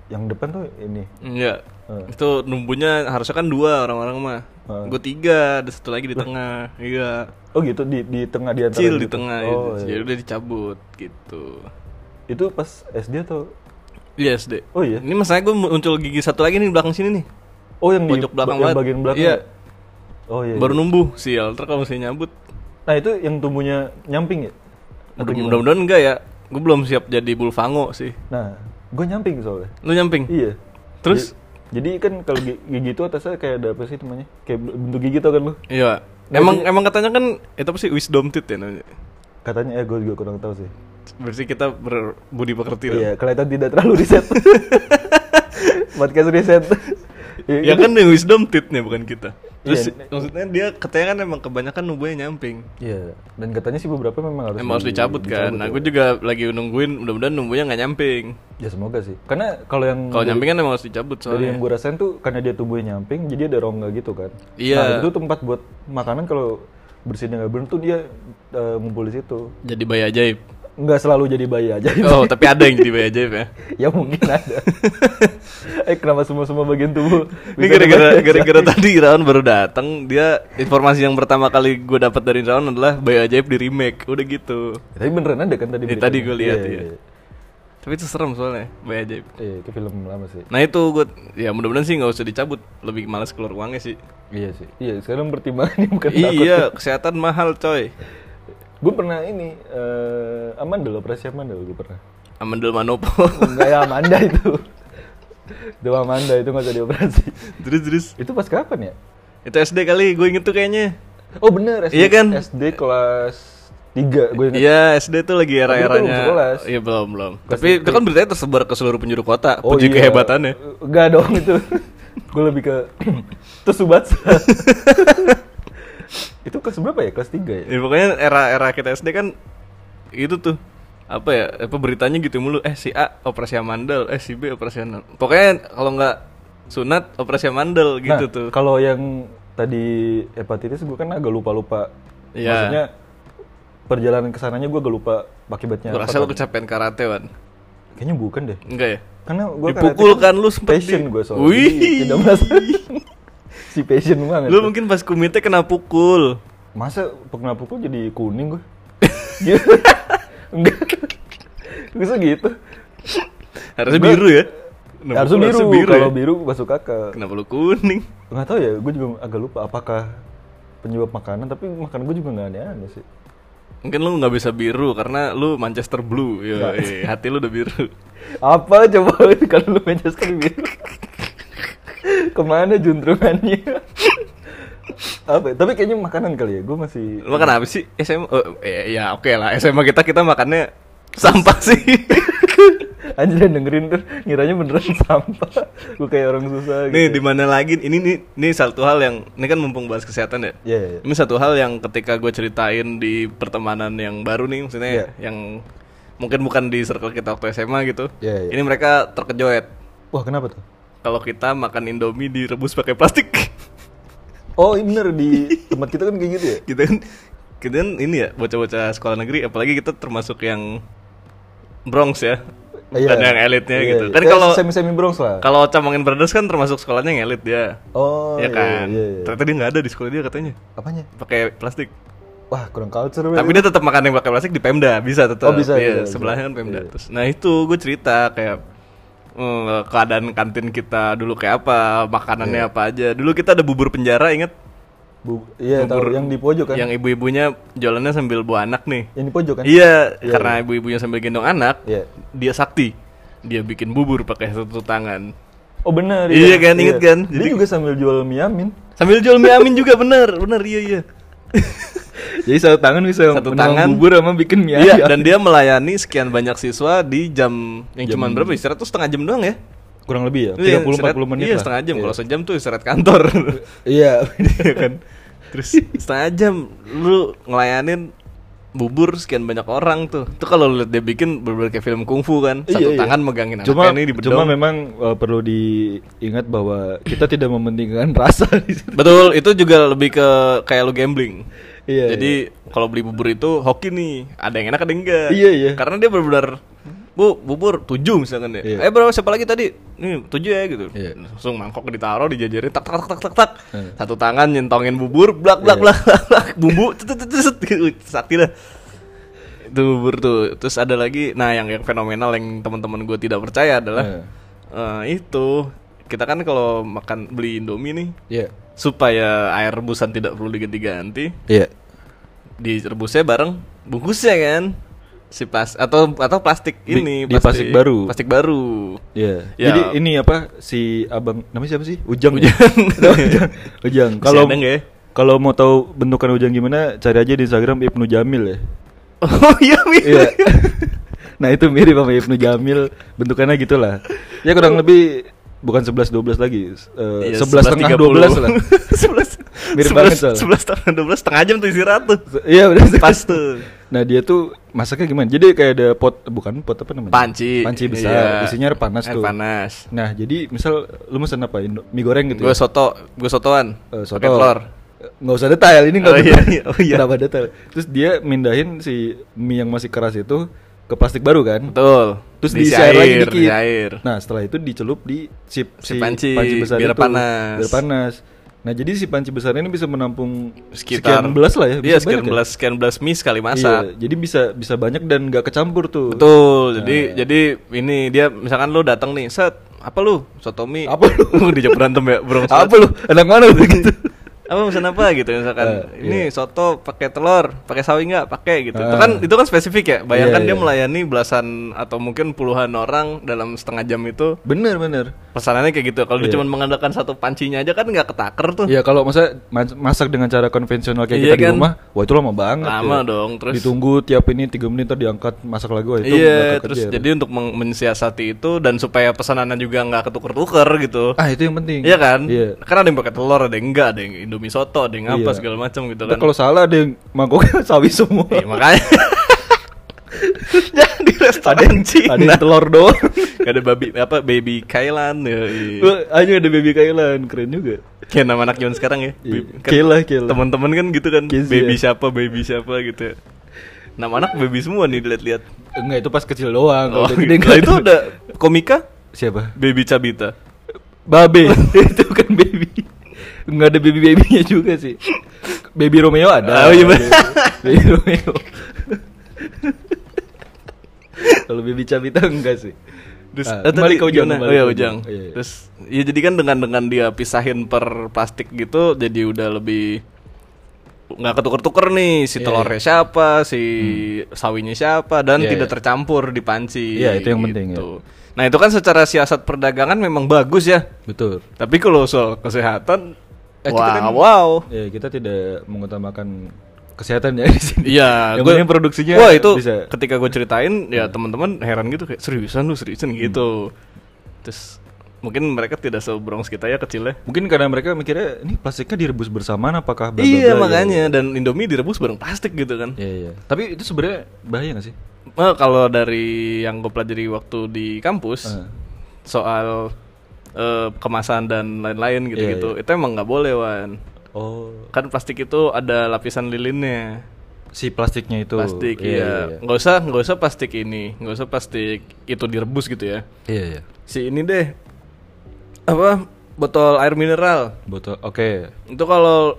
Speaker 2: yang depan tuh ini.
Speaker 1: Enggak.
Speaker 2: Eh.
Speaker 1: Iya. Itu numbunya harusnya kan dua orang-orang mah.
Speaker 2: Eh.
Speaker 1: Gue tiga, ada satu lagi di tengah. Iya.
Speaker 2: Oh gitu di di tengah di antara
Speaker 1: Kecil di
Speaker 2: gitu.
Speaker 1: tengah
Speaker 2: Oh,
Speaker 1: gitu.
Speaker 2: iya.
Speaker 1: Jadi udah dicabut gitu.
Speaker 2: Itu pas SD atau
Speaker 1: Iya SD.
Speaker 2: Oh iya.
Speaker 1: Ini masalahnya gue muncul gigi satu lagi nih di belakang sini nih.
Speaker 2: Oh yang di
Speaker 1: Pojok belakang
Speaker 2: yang
Speaker 1: banget.
Speaker 2: bagian belakang.
Speaker 1: Iya.
Speaker 2: ya? Oh iya.
Speaker 1: Baru numbuh sial. Ntar kalau misalnya nyabut,
Speaker 2: Nah, itu yang tumbuhnya nyamping ya?
Speaker 1: mudah- mudah-mudahan enggak ya. Gue belum siap jadi bulfango sih.
Speaker 2: Nah, gue nyamping soalnya.
Speaker 1: Lu nyamping?
Speaker 2: Iya.
Speaker 1: Terus?
Speaker 2: Jadi, jadi kan kalau gi- gigi itu atasnya kayak ada apa sih namanya? Kayak bentuk gigi tau kan lu?
Speaker 1: Iya. Emang emang katanya kan itu apa sih wisdom teeth ya namanya.
Speaker 2: Katanya eh gue juga kurang tahu sih.
Speaker 1: Berarti kita berbudi pekerti lah.
Speaker 2: Iya, kelihatan tidak terlalu
Speaker 1: <laughs>
Speaker 2: riset. Podcast riset. gitu.
Speaker 1: Ya kan yang wisdom teeth-nya bukan kita. Terus
Speaker 2: Iya.
Speaker 1: maksudnya dia katanya kan emang kebanyakan nubuhnya nyamping.
Speaker 2: Iya, dan katanya sih beberapa memang harus
Speaker 1: Emang harus
Speaker 2: di-
Speaker 1: dicabut kan. Nah, gue juga lagi nungguin mudah-mudahan numbuhnya nggak nyamping.
Speaker 2: Ya semoga sih. Karena kalau yang
Speaker 1: Kalau nyamping kan emang harus dicabut
Speaker 2: dari
Speaker 1: soalnya.
Speaker 2: yang gue rasain tuh karena dia tubuhnya nyamping, jadi ada rongga gitu kan.
Speaker 1: Iya.
Speaker 2: Nah, itu tempat buat makanan kalau bersihnya nggak bener tuh dia eh, ngumpul di situ.
Speaker 1: Jadi bayi ajaib.
Speaker 2: Nggak selalu jadi bayi aja.
Speaker 1: Oh,
Speaker 2: <laughs>
Speaker 1: tapi ada yang jadi bayi ajaib <laughs> ya.
Speaker 2: ya mungkin
Speaker 1: <laughs>
Speaker 2: ada. eh kenapa semua semua bagian tubuh?
Speaker 1: Ini
Speaker 2: bisa
Speaker 1: gara-gara
Speaker 2: dibayi? <laughs>
Speaker 1: gara-gara tadi Irawan baru datang, dia informasi yang pertama kali gue dapat dari Irawan adalah bayi ajaib di remake. Udah gitu.
Speaker 2: Ya, tapi beneran ada kan tadi?
Speaker 1: Ini
Speaker 2: beritanya?
Speaker 1: tadi gue lihat
Speaker 2: Iya,
Speaker 1: ya.
Speaker 2: iya.
Speaker 1: Tapi itu serem soalnya, bayi ajaib.
Speaker 2: Iya, itu film lama sih.
Speaker 1: Nah itu gue, ya mudah-mudahan sih nggak usah dicabut. Lebih malas keluar uangnya sih.
Speaker 2: Iya sih. Iya, sekarang pertimbangannya bukan
Speaker 1: Iya, kesehatan mahal coy.
Speaker 2: Gue pernah ini eh amandel operasi amandel gue pernah.
Speaker 1: Amandel Manopo. <laughs>
Speaker 2: Enggak ya Amanda itu. Itu Amanda itu nggak usah dioperasi.
Speaker 1: terus terus.
Speaker 2: Itu pas kapan ya?
Speaker 1: Itu SD kali, gue inget tuh kayaknya.
Speaker 2: Oh bener SD.
Speaker 1: Iya kan?
Speaker 2: SD kelas 3 gue ingat.
Speaker 1: Iya, SD tuh lagi
Speaker 2: belum
Speaker 1: era-eranya.
Speaker 2: sekolas.
Speaker 1: Iya, belum, belum. Tapi itu kan beritanya tersebar ke seluruh penjuru kota.
Speaker 2: Oh,
Speaker 1: Puji
Speaker 2: iya.
Speaker 1: kehebatannya.
Speaker 2: Enggak dong
Speaker 1: <laughs>
Speaker 2: itu. gue lebih ke <clears throat> Tsubasa. itu kelas berapa ya? Kelas 3 ya?
Speaker 1: Iya, Ya, pokoknya era-era kita SD kan itu tuh apa ya apa beritanya gitu mulu eh si A operasi amandel eh si B operasi amandel pokoknya kalau nggak sunat operasi amandel gitu
Speaker 2: nah,
Speaker 1: tuh
Speaker 2: Kalau yang tadi hepatitis gue kan agak lupa-lupa.
Speaker 1: Iya.
Speaker 2: Maksudnya perjalanan kesananya gue agak lupa akibatnya.
Speaker 1: gue
Speaker 2: ya, apa
Speaker 1: rasa lu
Speaker 2: tadi.
Speaker 1: kecapean karate wan
Speaker 2: Kayaknya bukan deh.
Speaker 1: enggak ya
Speaker 2: Karena gue
Speaker 1: Dipukulkan lu sempet
Speaker 2: kan passion
Speaker 1: di-
Speaker 2: gue soalnya.
Speaker 1: kan,
Speaker 2: Iya,
Speaker 1: Wih.
Speaker 2: Jadi Tidak merasa
Speaker 1: <laughs>
Speaker 2: si passion banget.
Speaker 1: lu mungkin pas kumite kena pukul
Speaker 2: Masa pernah pukul jadi
Speaker 1: <laughs>
Speaker 2: kuning gue? Gitu. Enggak. Bisa gitu.
Speaker 1: harusnya
Speaker 2: Gua-
Speaker 1: biru ya Kena
Speaker 2: Harusnya
Speaker 1: pukul
Speaker 2: biru.
Speaker 1: ya?
Speaker 2: Kalau biru masuk kakak.
Speaker 1: kenapa lu kuning
Speaker 2: nggak tahu ya gue juga agak lupa apakah penyebab makanan tapi makanan gue juga nggak aneh-aneh sih
Speaker 1: mungkin lu nggak bisa biru karena lu Manchester Blue Yo, iya, hati lu udah biru
Speaker 2: apa coba <laughs> kalau lu Manchester biru gitu? kemana juntrungannya apa ya? tapi kayaknya makanan kali ya gue masih
Speaker 1: Lu makan apa sih SMA oh, eh, ya oke lah SMA kita kita makannya
Speaker 2: <laughs>
Speaker 1: sampah sih
Speaker 2: anjir yang dengerin tuh ngiranya beneran <laughs> sampah gue kayak orang susah
Speaker 1: nih di
Speaker 2: gitu
Speaker 1: mana lagi ini nih ini satu hal yang ini kan mumpung bahas kesehatan ya
Speaker 2: Iya, iya, iya.
Speaker 1: ini satu hal yang ketika gue ceritain di pertemanan yang baru nih maksudnya
Speaker 2: Iya.
Speaker 1: yang mungkin bukan di circle kita waktu SMA gitu
Speaker 2: Iya, iya.
Speaker 1: ini mereka terkejoet
Speaker 2: wah kenapa tuh
Speaker 1: kalau kita makan Indomie direbus pakai plastik <laughs>
Speaker 2: oh ini bener di tempat kita kan kayak gitu
Speaker 1: <laughs>
Speaker 2: ya
Speaker 1: kita kan kita kan ini ya bocah-bocah sekolah negeri apalagi kita termasuk yang Bronx ya
Speaker 2: Iya.
Speaker 1: dan yang elitnya
Speaker 2: Iya,
Speaker 1: gitu
Speaker 2: iya.
Speaker 1: kan
Speaker 2: Kayak
Speaker 1: kalau
Speaker 2: semi-semi bronx lah
Speaker 1: Kalau camangin brothers kan termasuk sekolahnya ngelit dia.
Speaker 2: oh
Speaker 1: ya
Speaker 2: iya,
Speaker 1: kan.
Speaker 2: iya, iya.
Speaker 1: Ternyata dia nggak ada di sekolah dia katanya.
Speaker 2: apanya
Speaker 1: Pakai plastik.
Speaker 2: wah kurang culture
Speaker 1: Tapi dia tetap makan yang pakai plastik di Pemda, bisa tetap.
Speaker 2: Oh, bisa,
Speaker 1: Iya,
Speaker 2: bisa, bisa.
Speaker 1: sebelahnya kan Pemda.
Speaker 2: Iya.
Speaker 1: Terus, nah itu gue cerita kayak eh, keadaan kantin kita dulu kayak apa, makanannya
Speaker 2: Iya.
Speaker 1: apa aja. Dulu kita ada bubur penjara, inget?
Speaker 2: Bu, iya tahu yang di pojok kan? Yang,
Speaker 1: Yang ibu-ibunya jualannya sambil bawa anak nih.
Speaker 2: di pojok kan?
Speaker 1: Iya, karena ibu-ibunya sambil gendong anak,
Speaker 2: Iya.
Speaker 1: dia sakti. Dia bikin bubur pakai satu tangan.
Speaker 2: Oh benar.
Speaker 1: Iya kan, inget kan?
Speaker 2: Dia
Speaker 1: Jadi-
Speaker 2: juga sambil jual miamin.
Speaker 1: Sambil jual mie amin juga bener, bener iya iya.
Speaker 2: Jadi satu tangan bisa
Speaker 1: Satu tangan.
Speaker 2: sama bikin
Speaker 1: Iya, dan dia melayani sekian banyak siswa di jam yang cuman berapa? Istirahat tuh setengah jam doang ya?
Speaker 2: kurang lebih
Speaker 1: Iya,
Speaker 2: ya, 30
Speaker 1: istirahat-
Speaker 2: 40 menit
Speaker 1: Iya,
Speaker 2: lah.
Speaker 1: setengah jam. Kalau sejam tuh istirahat kantor.
Speaker 2: <laughs> Iya.
Speaker 1: Iya kan? Terus setengah jam lu ngelayanin bubur sekian banyak orang tuh. Tuh kalau lu lihat dia bikin berbagai film kungfu kan, satu
Speaker 2: Iya, iya.
Speaker 1: tangan megangin
Speaker 2: Cuma
Speaker 1: anaknya ini di bedong.
Speaker 2: cuma memang uh, perlu diingat bahwa kita tidak mementingkan <laughs> rasa di situ.
Speaker 1: Betul, itu juga lebih ke kayak lu gambling.
Speaker 2: Iya,
Speaker 1: Jadi kalau beli bubur itu hoki nih, ada yang enak ada yang enggak.
Speaker 2: Iya, iya.
Speaker 1: Karena dia benar-benar Bu, bubur tujuh misalkan ya.
Speaker 2: Iya.
Speaker 1: Eh bro, siapa lagi tadi? Nih, tujuh ya gitu.
Speaker 2: Iya.
Speaker 1: Langsung mangkok ditaruh, dijajarin tak tak tak tak tak tak.
Speaker 2: Iya.
Speaker 1: Satu tangan nyentongin bubur, blak blak blak blak, blak. bumbu cet cet cet, cet gitu. sakti dah. Itu bubur tuh. Terus ada lagi, nah yang yang fenomenal yang teman-teman gue tidak percaya
Speaker 2: Iya.
Speaker 1: adalah eh, itu kita kan kalau makan beli Indomie nih
Speaker 2: Iya.
Speaker 1: supaya air rebusan tidak perlu diganti-ganti
Speaker 2: Iya.
Speaker 1: direbusnya bareng bungkusnya kan si plas atau atau plastik
Speaker 2: Di-
Speaker 1: ini
Speaker 2: di plastik baru.
Speaker 1: plastik baru
Speaker 2: Iya.
Speaker 1: Ya.
Speaker 2: Jadi ini apa si abang namanya siapa sih? Ujang. ya? <laughs>
Speaker 1: Ujang.
Speaker 2: Ujang. Ujang.
Speaker 1: Masih
Speaker 2: Kalau
Speaker 1: ada
Speaker 2: <laughs>
Speaker 1: nggak ya?
Speaker 2: kalau mau tahu bentukan Ujang gimana, cari aja di Instagram Ibnu Jamil
Speaker 1: <laughs>
Speaker 2: ya.
Speaker 1: oh iya Mi.
Speaker 2: Iya. nah itu mirip sama Ibnu Jamil bentukannya gitulah. Ya kurang lebih bukan 11 12 lagi. Eh,
Speaker 1: Iya,
Speaker 2: 11 tengah
Speaker 1: 11.30.
Speaker 2: 12 lah.
Speaker 1: <laughs> sebelas
Speaker 2: Mirip
Speaker 1: sebelas-
Speaker 2: banget soalnya.
Speaker 1: sebelas setengah dua belas setengah jam tuh istirahat tuh
Speaker 2: Se- Iya udah
Speaker 1: pas tuh
Speaker 2: Nah dia tuh masaknya gimana? Jadi kayak ada pot bukan pot apa namanya?
Speaker 1: panci
Speaker 2: Panci besar,
Speaker 1: Iya.
Speaker 2: isinya air panas
Speaker 1: Air
Speaker 2: tuh.
Speaker 1: panas
Speaker 2: Nah, jadi misal lu mesen apa? Indo- mie goreng gitu
Speaker 1: gue soto gue sotoan
Speaker 2: Eh,
Speaker 1: pakai telur
Speaker 2: Eh, nggak usah detail ini nggak
Speaker 1: Oh
Speaker 2: detail.
Speaker 1: iya, iya, oh iya.
Speaker 2: Kenapa detail terus dia mindahin si mie yang masih keras itu ke plastik baru kan
Speaker 1: betul
Speaker 2: terus
Speaker 1: Diisi
Speaker 2: diisi air lagi
Speaker 1: air,
Speaker 2: dikit
Speaker 1: diisi air.
Speaker 2: nah setelah itu dicelup di si,
Speaker 1: Si panci, biar
Speaker 2: biar
Speaker 1: panas.
Speaker 2: biar panas nah jadi si panci besar ini bisa menampung
Speaker 1: sekitar
Speaker 2: sekian belas lah ya
Speaker 1: iya
Speaker 2: bisa
Speaker 1: sekian
Speaker 2: banyak ya?
Speaker 1: belas sekian belas mie sekali masak
Speaker 2: Iya, Nah, jadi bisa bisa banyak dan nggak kecampur tuh
Speaker 1: Betul. Jadi
Speaker 2: iya.
Speaker 1: jadi ini dia misalkan lu datang nih, set apa lu? Soto mie.
Speaker 2: Apa lu?
Speaker 1: <laughs> Lu dijak berantem ya, Bro.
Speaker 2: apa lu enak mana lu gitu
Speaker 1: Apa pesan apa gitu misalkan.
Speaker 2: Eh,
Speaker 1: ini soto pakai telur, pakai sawi nggak? Pakai gitu. Itu
Speaker 2: Ah.
Speaker 1: kan itu kan spesifik ya. Bayangkan
Speaker 2: Iya,
Speaker 1: dia
Speaker 2: iya.
Speaker 1: melayani belasan atau mungkin puluhan orang dalam setengah jam itu.
Speaker 2: bener bener
Speaker 1: Pesanannya kayak gitu. Kalau dia
Speaker 2: Iya.
Speaker 1: cuma mengandalkan satu pancinya aja kan nggak ketaker tuh.
Speaker 2: Ya kalau masa mas- masak dengan cara konvensional
Speaker 1: Iya
Speaker 2: kayak kita di
Speaker 1: kan?
Speaker 2: rumah, wah itu lama banget.
Speaker 1: Lama
Speaker 2: ya.
Speaker 1: dong, terus-
Speaker 2: ditunggu tiap ini tiga menit ntar diangkat masak lagi wah itu
Speaker 1: Iya,
Speaker 2: bakal
Speaker 1: terus
Speaker 2: kejar.
Speaker 1: jadi untuk meng- mensiasati itu dan supaya pesanannya juga nggak ketuker-tuker gitu.
Speaker 2: <laughs> ah itu yang penting.
Speaker 1: Iya kan?
Speaker 2: Iya.
Speaker 1: Karena ada yang pakai telur, ada yang enggak, ada yang Indomie soto, ada yang apa
Speaker 2: Iya.
Speaker 1: segala macam gitu
Speaker 2: Ntar
Speaker 1: kan.
Speaker 2: <laughs>
Speaker 1: <laughs>
Speaker 2: kalau salah ada yang mangkoknya sawi semua.
Speaker 1: Iya, makanya Jangan di <laughs>
Speaker 2: ada
Speaker 1: restoran
Speaker 2: yang,
Speaker 1: Cina.
Speaker 2: ada yang telur doang.
Speaker 1: Gak ada babi apa baby Kailan ya. <laughs> iya.
Speaker 2: Wah, Aja ada baby Kailan, keren juga.
Speaker 1: Kayak nama anak zaman sekarang ya. Baby- kan
Speaker 2: Kela, Kela.
Speaker 1: Teman-teman kan gitu kan
Speaker 2: Kids,
Speaker 1: baby
Speaker 2: Iya, ya.
Speaker 1: siapa baby siapa gitu. Nama anak baby semua nih dilihat-lihat.
Speaker 2: Enggak, itu pas kecil doang. Kalau
Speaker 1: Oh,
Speaker 2: udah
Speaker 1: <laughs>
Speaker 2: gede
Speaker 1: gitu.
Speaker 2: nggak
Speaker 1: Lah, itu
Speaker 2: ada.
Speaker 1: udah komika
Speaker 2: siapa?
Speaker 1: baby Cabita.
Speaker 2: Babe. <laughs> itu kan baby. Enggak ada baby-babynya juga sih. Baby Romeo ada.
Speaker 1: Oh, iya,
Speaker 2: Baby- <laughs> baby Romeo. Kalau baby Cabita enggak sih.
Speaker 1: Terus
Speaker 2: Ah,
Speaker 1: eh,
Speaker 2: kembali
Speaker 1: tadi
Speaker 2: ke Ujang,
Speaker 1: gimana?
Speaker 2: kembali
Speaker 1: Oh iya
Speaker 2: ke
Speaker 1: Ujang.
Speaker 2: Ujang. Iya, iya.
Speaker 1: Terus ya jadi kan dengan dengan dia pisahin per plastik gitu jadi udah lebih nggak ketuker-tuker nih si
Speaker 2: Iya, Hmm.
Speaker 1: telurnya siapa, si sawinya siapa dan
Speaker 2: Iya,
Speaker 1: tidak
Speaker 2: iya.
Speaker 1: tercampur di panci.
Speaker 2: Iya, itu yang penting,
Speaker 1: gitu. Nah, itu kan secara siasat perdagangan memang bagus ya.
Speaker 2: Betul.
Speaker 1: Tapi kalau soal kesehatan
Speaker 2: Eh,
Speaker 1: wow,
Speaker 2: kita kan-
Speaker 1: wow.
Speaker 2: Ya, kita tidak mengutamakan kesehatan ya <laughs> di sini.
Speaker 1: Iya,
Speaker 2: Yang
Speaker 1: gua-
Speaker 2: penting produksinya
Speaker 1: Wah itu
Speaker 2: bisa. Hmm.
Speaker 1: ketika gue ceritain ya teman-teman heran gitu kayak seriusan lu seriusan gitu. Terus mungkin mereka tidak sebrongs kita ya kecilnya.
Speaker 2: Mungkin karena mereka mikirnya ini plastiknya direbus bersamaan apakah bla bla
Speaker 1: iya
Speaker 2: bla," gitu.
Speaker 1: makanya dan Indomie direbus bareng plastik gitu kan.
Speaker 2: Iya iya. Tapi itu sebenarnya bahaya gak sih?
Speaker 1: Nah, kalau dari yang gue pelajari waktu di kampus
Speaker 2: Eh.
Speaker 1: soal eh, kemasan dan lain-lain gitu-gitu
Speaker 2: Iya,
Speaker 1: itu emang nggak boleh wan.
Speaker 2: Oh,
Speaker 1: Kan plastik itu ada lapisan lilinnya.
Speaker 2: si plastiknya itu.
Speaker 1: Plastik
Speaker 2: Iya, iya,
Speaker 1: ya. Nggak usah nggak usah plastik ini, nggak usah plastik itu direbus gitu ya.
Speaker 2: Iya iya.
Speaker 1: si ini deh apa botol air mineral
Speaker 2: Botol. Oke.
Speaker 1: itu kalau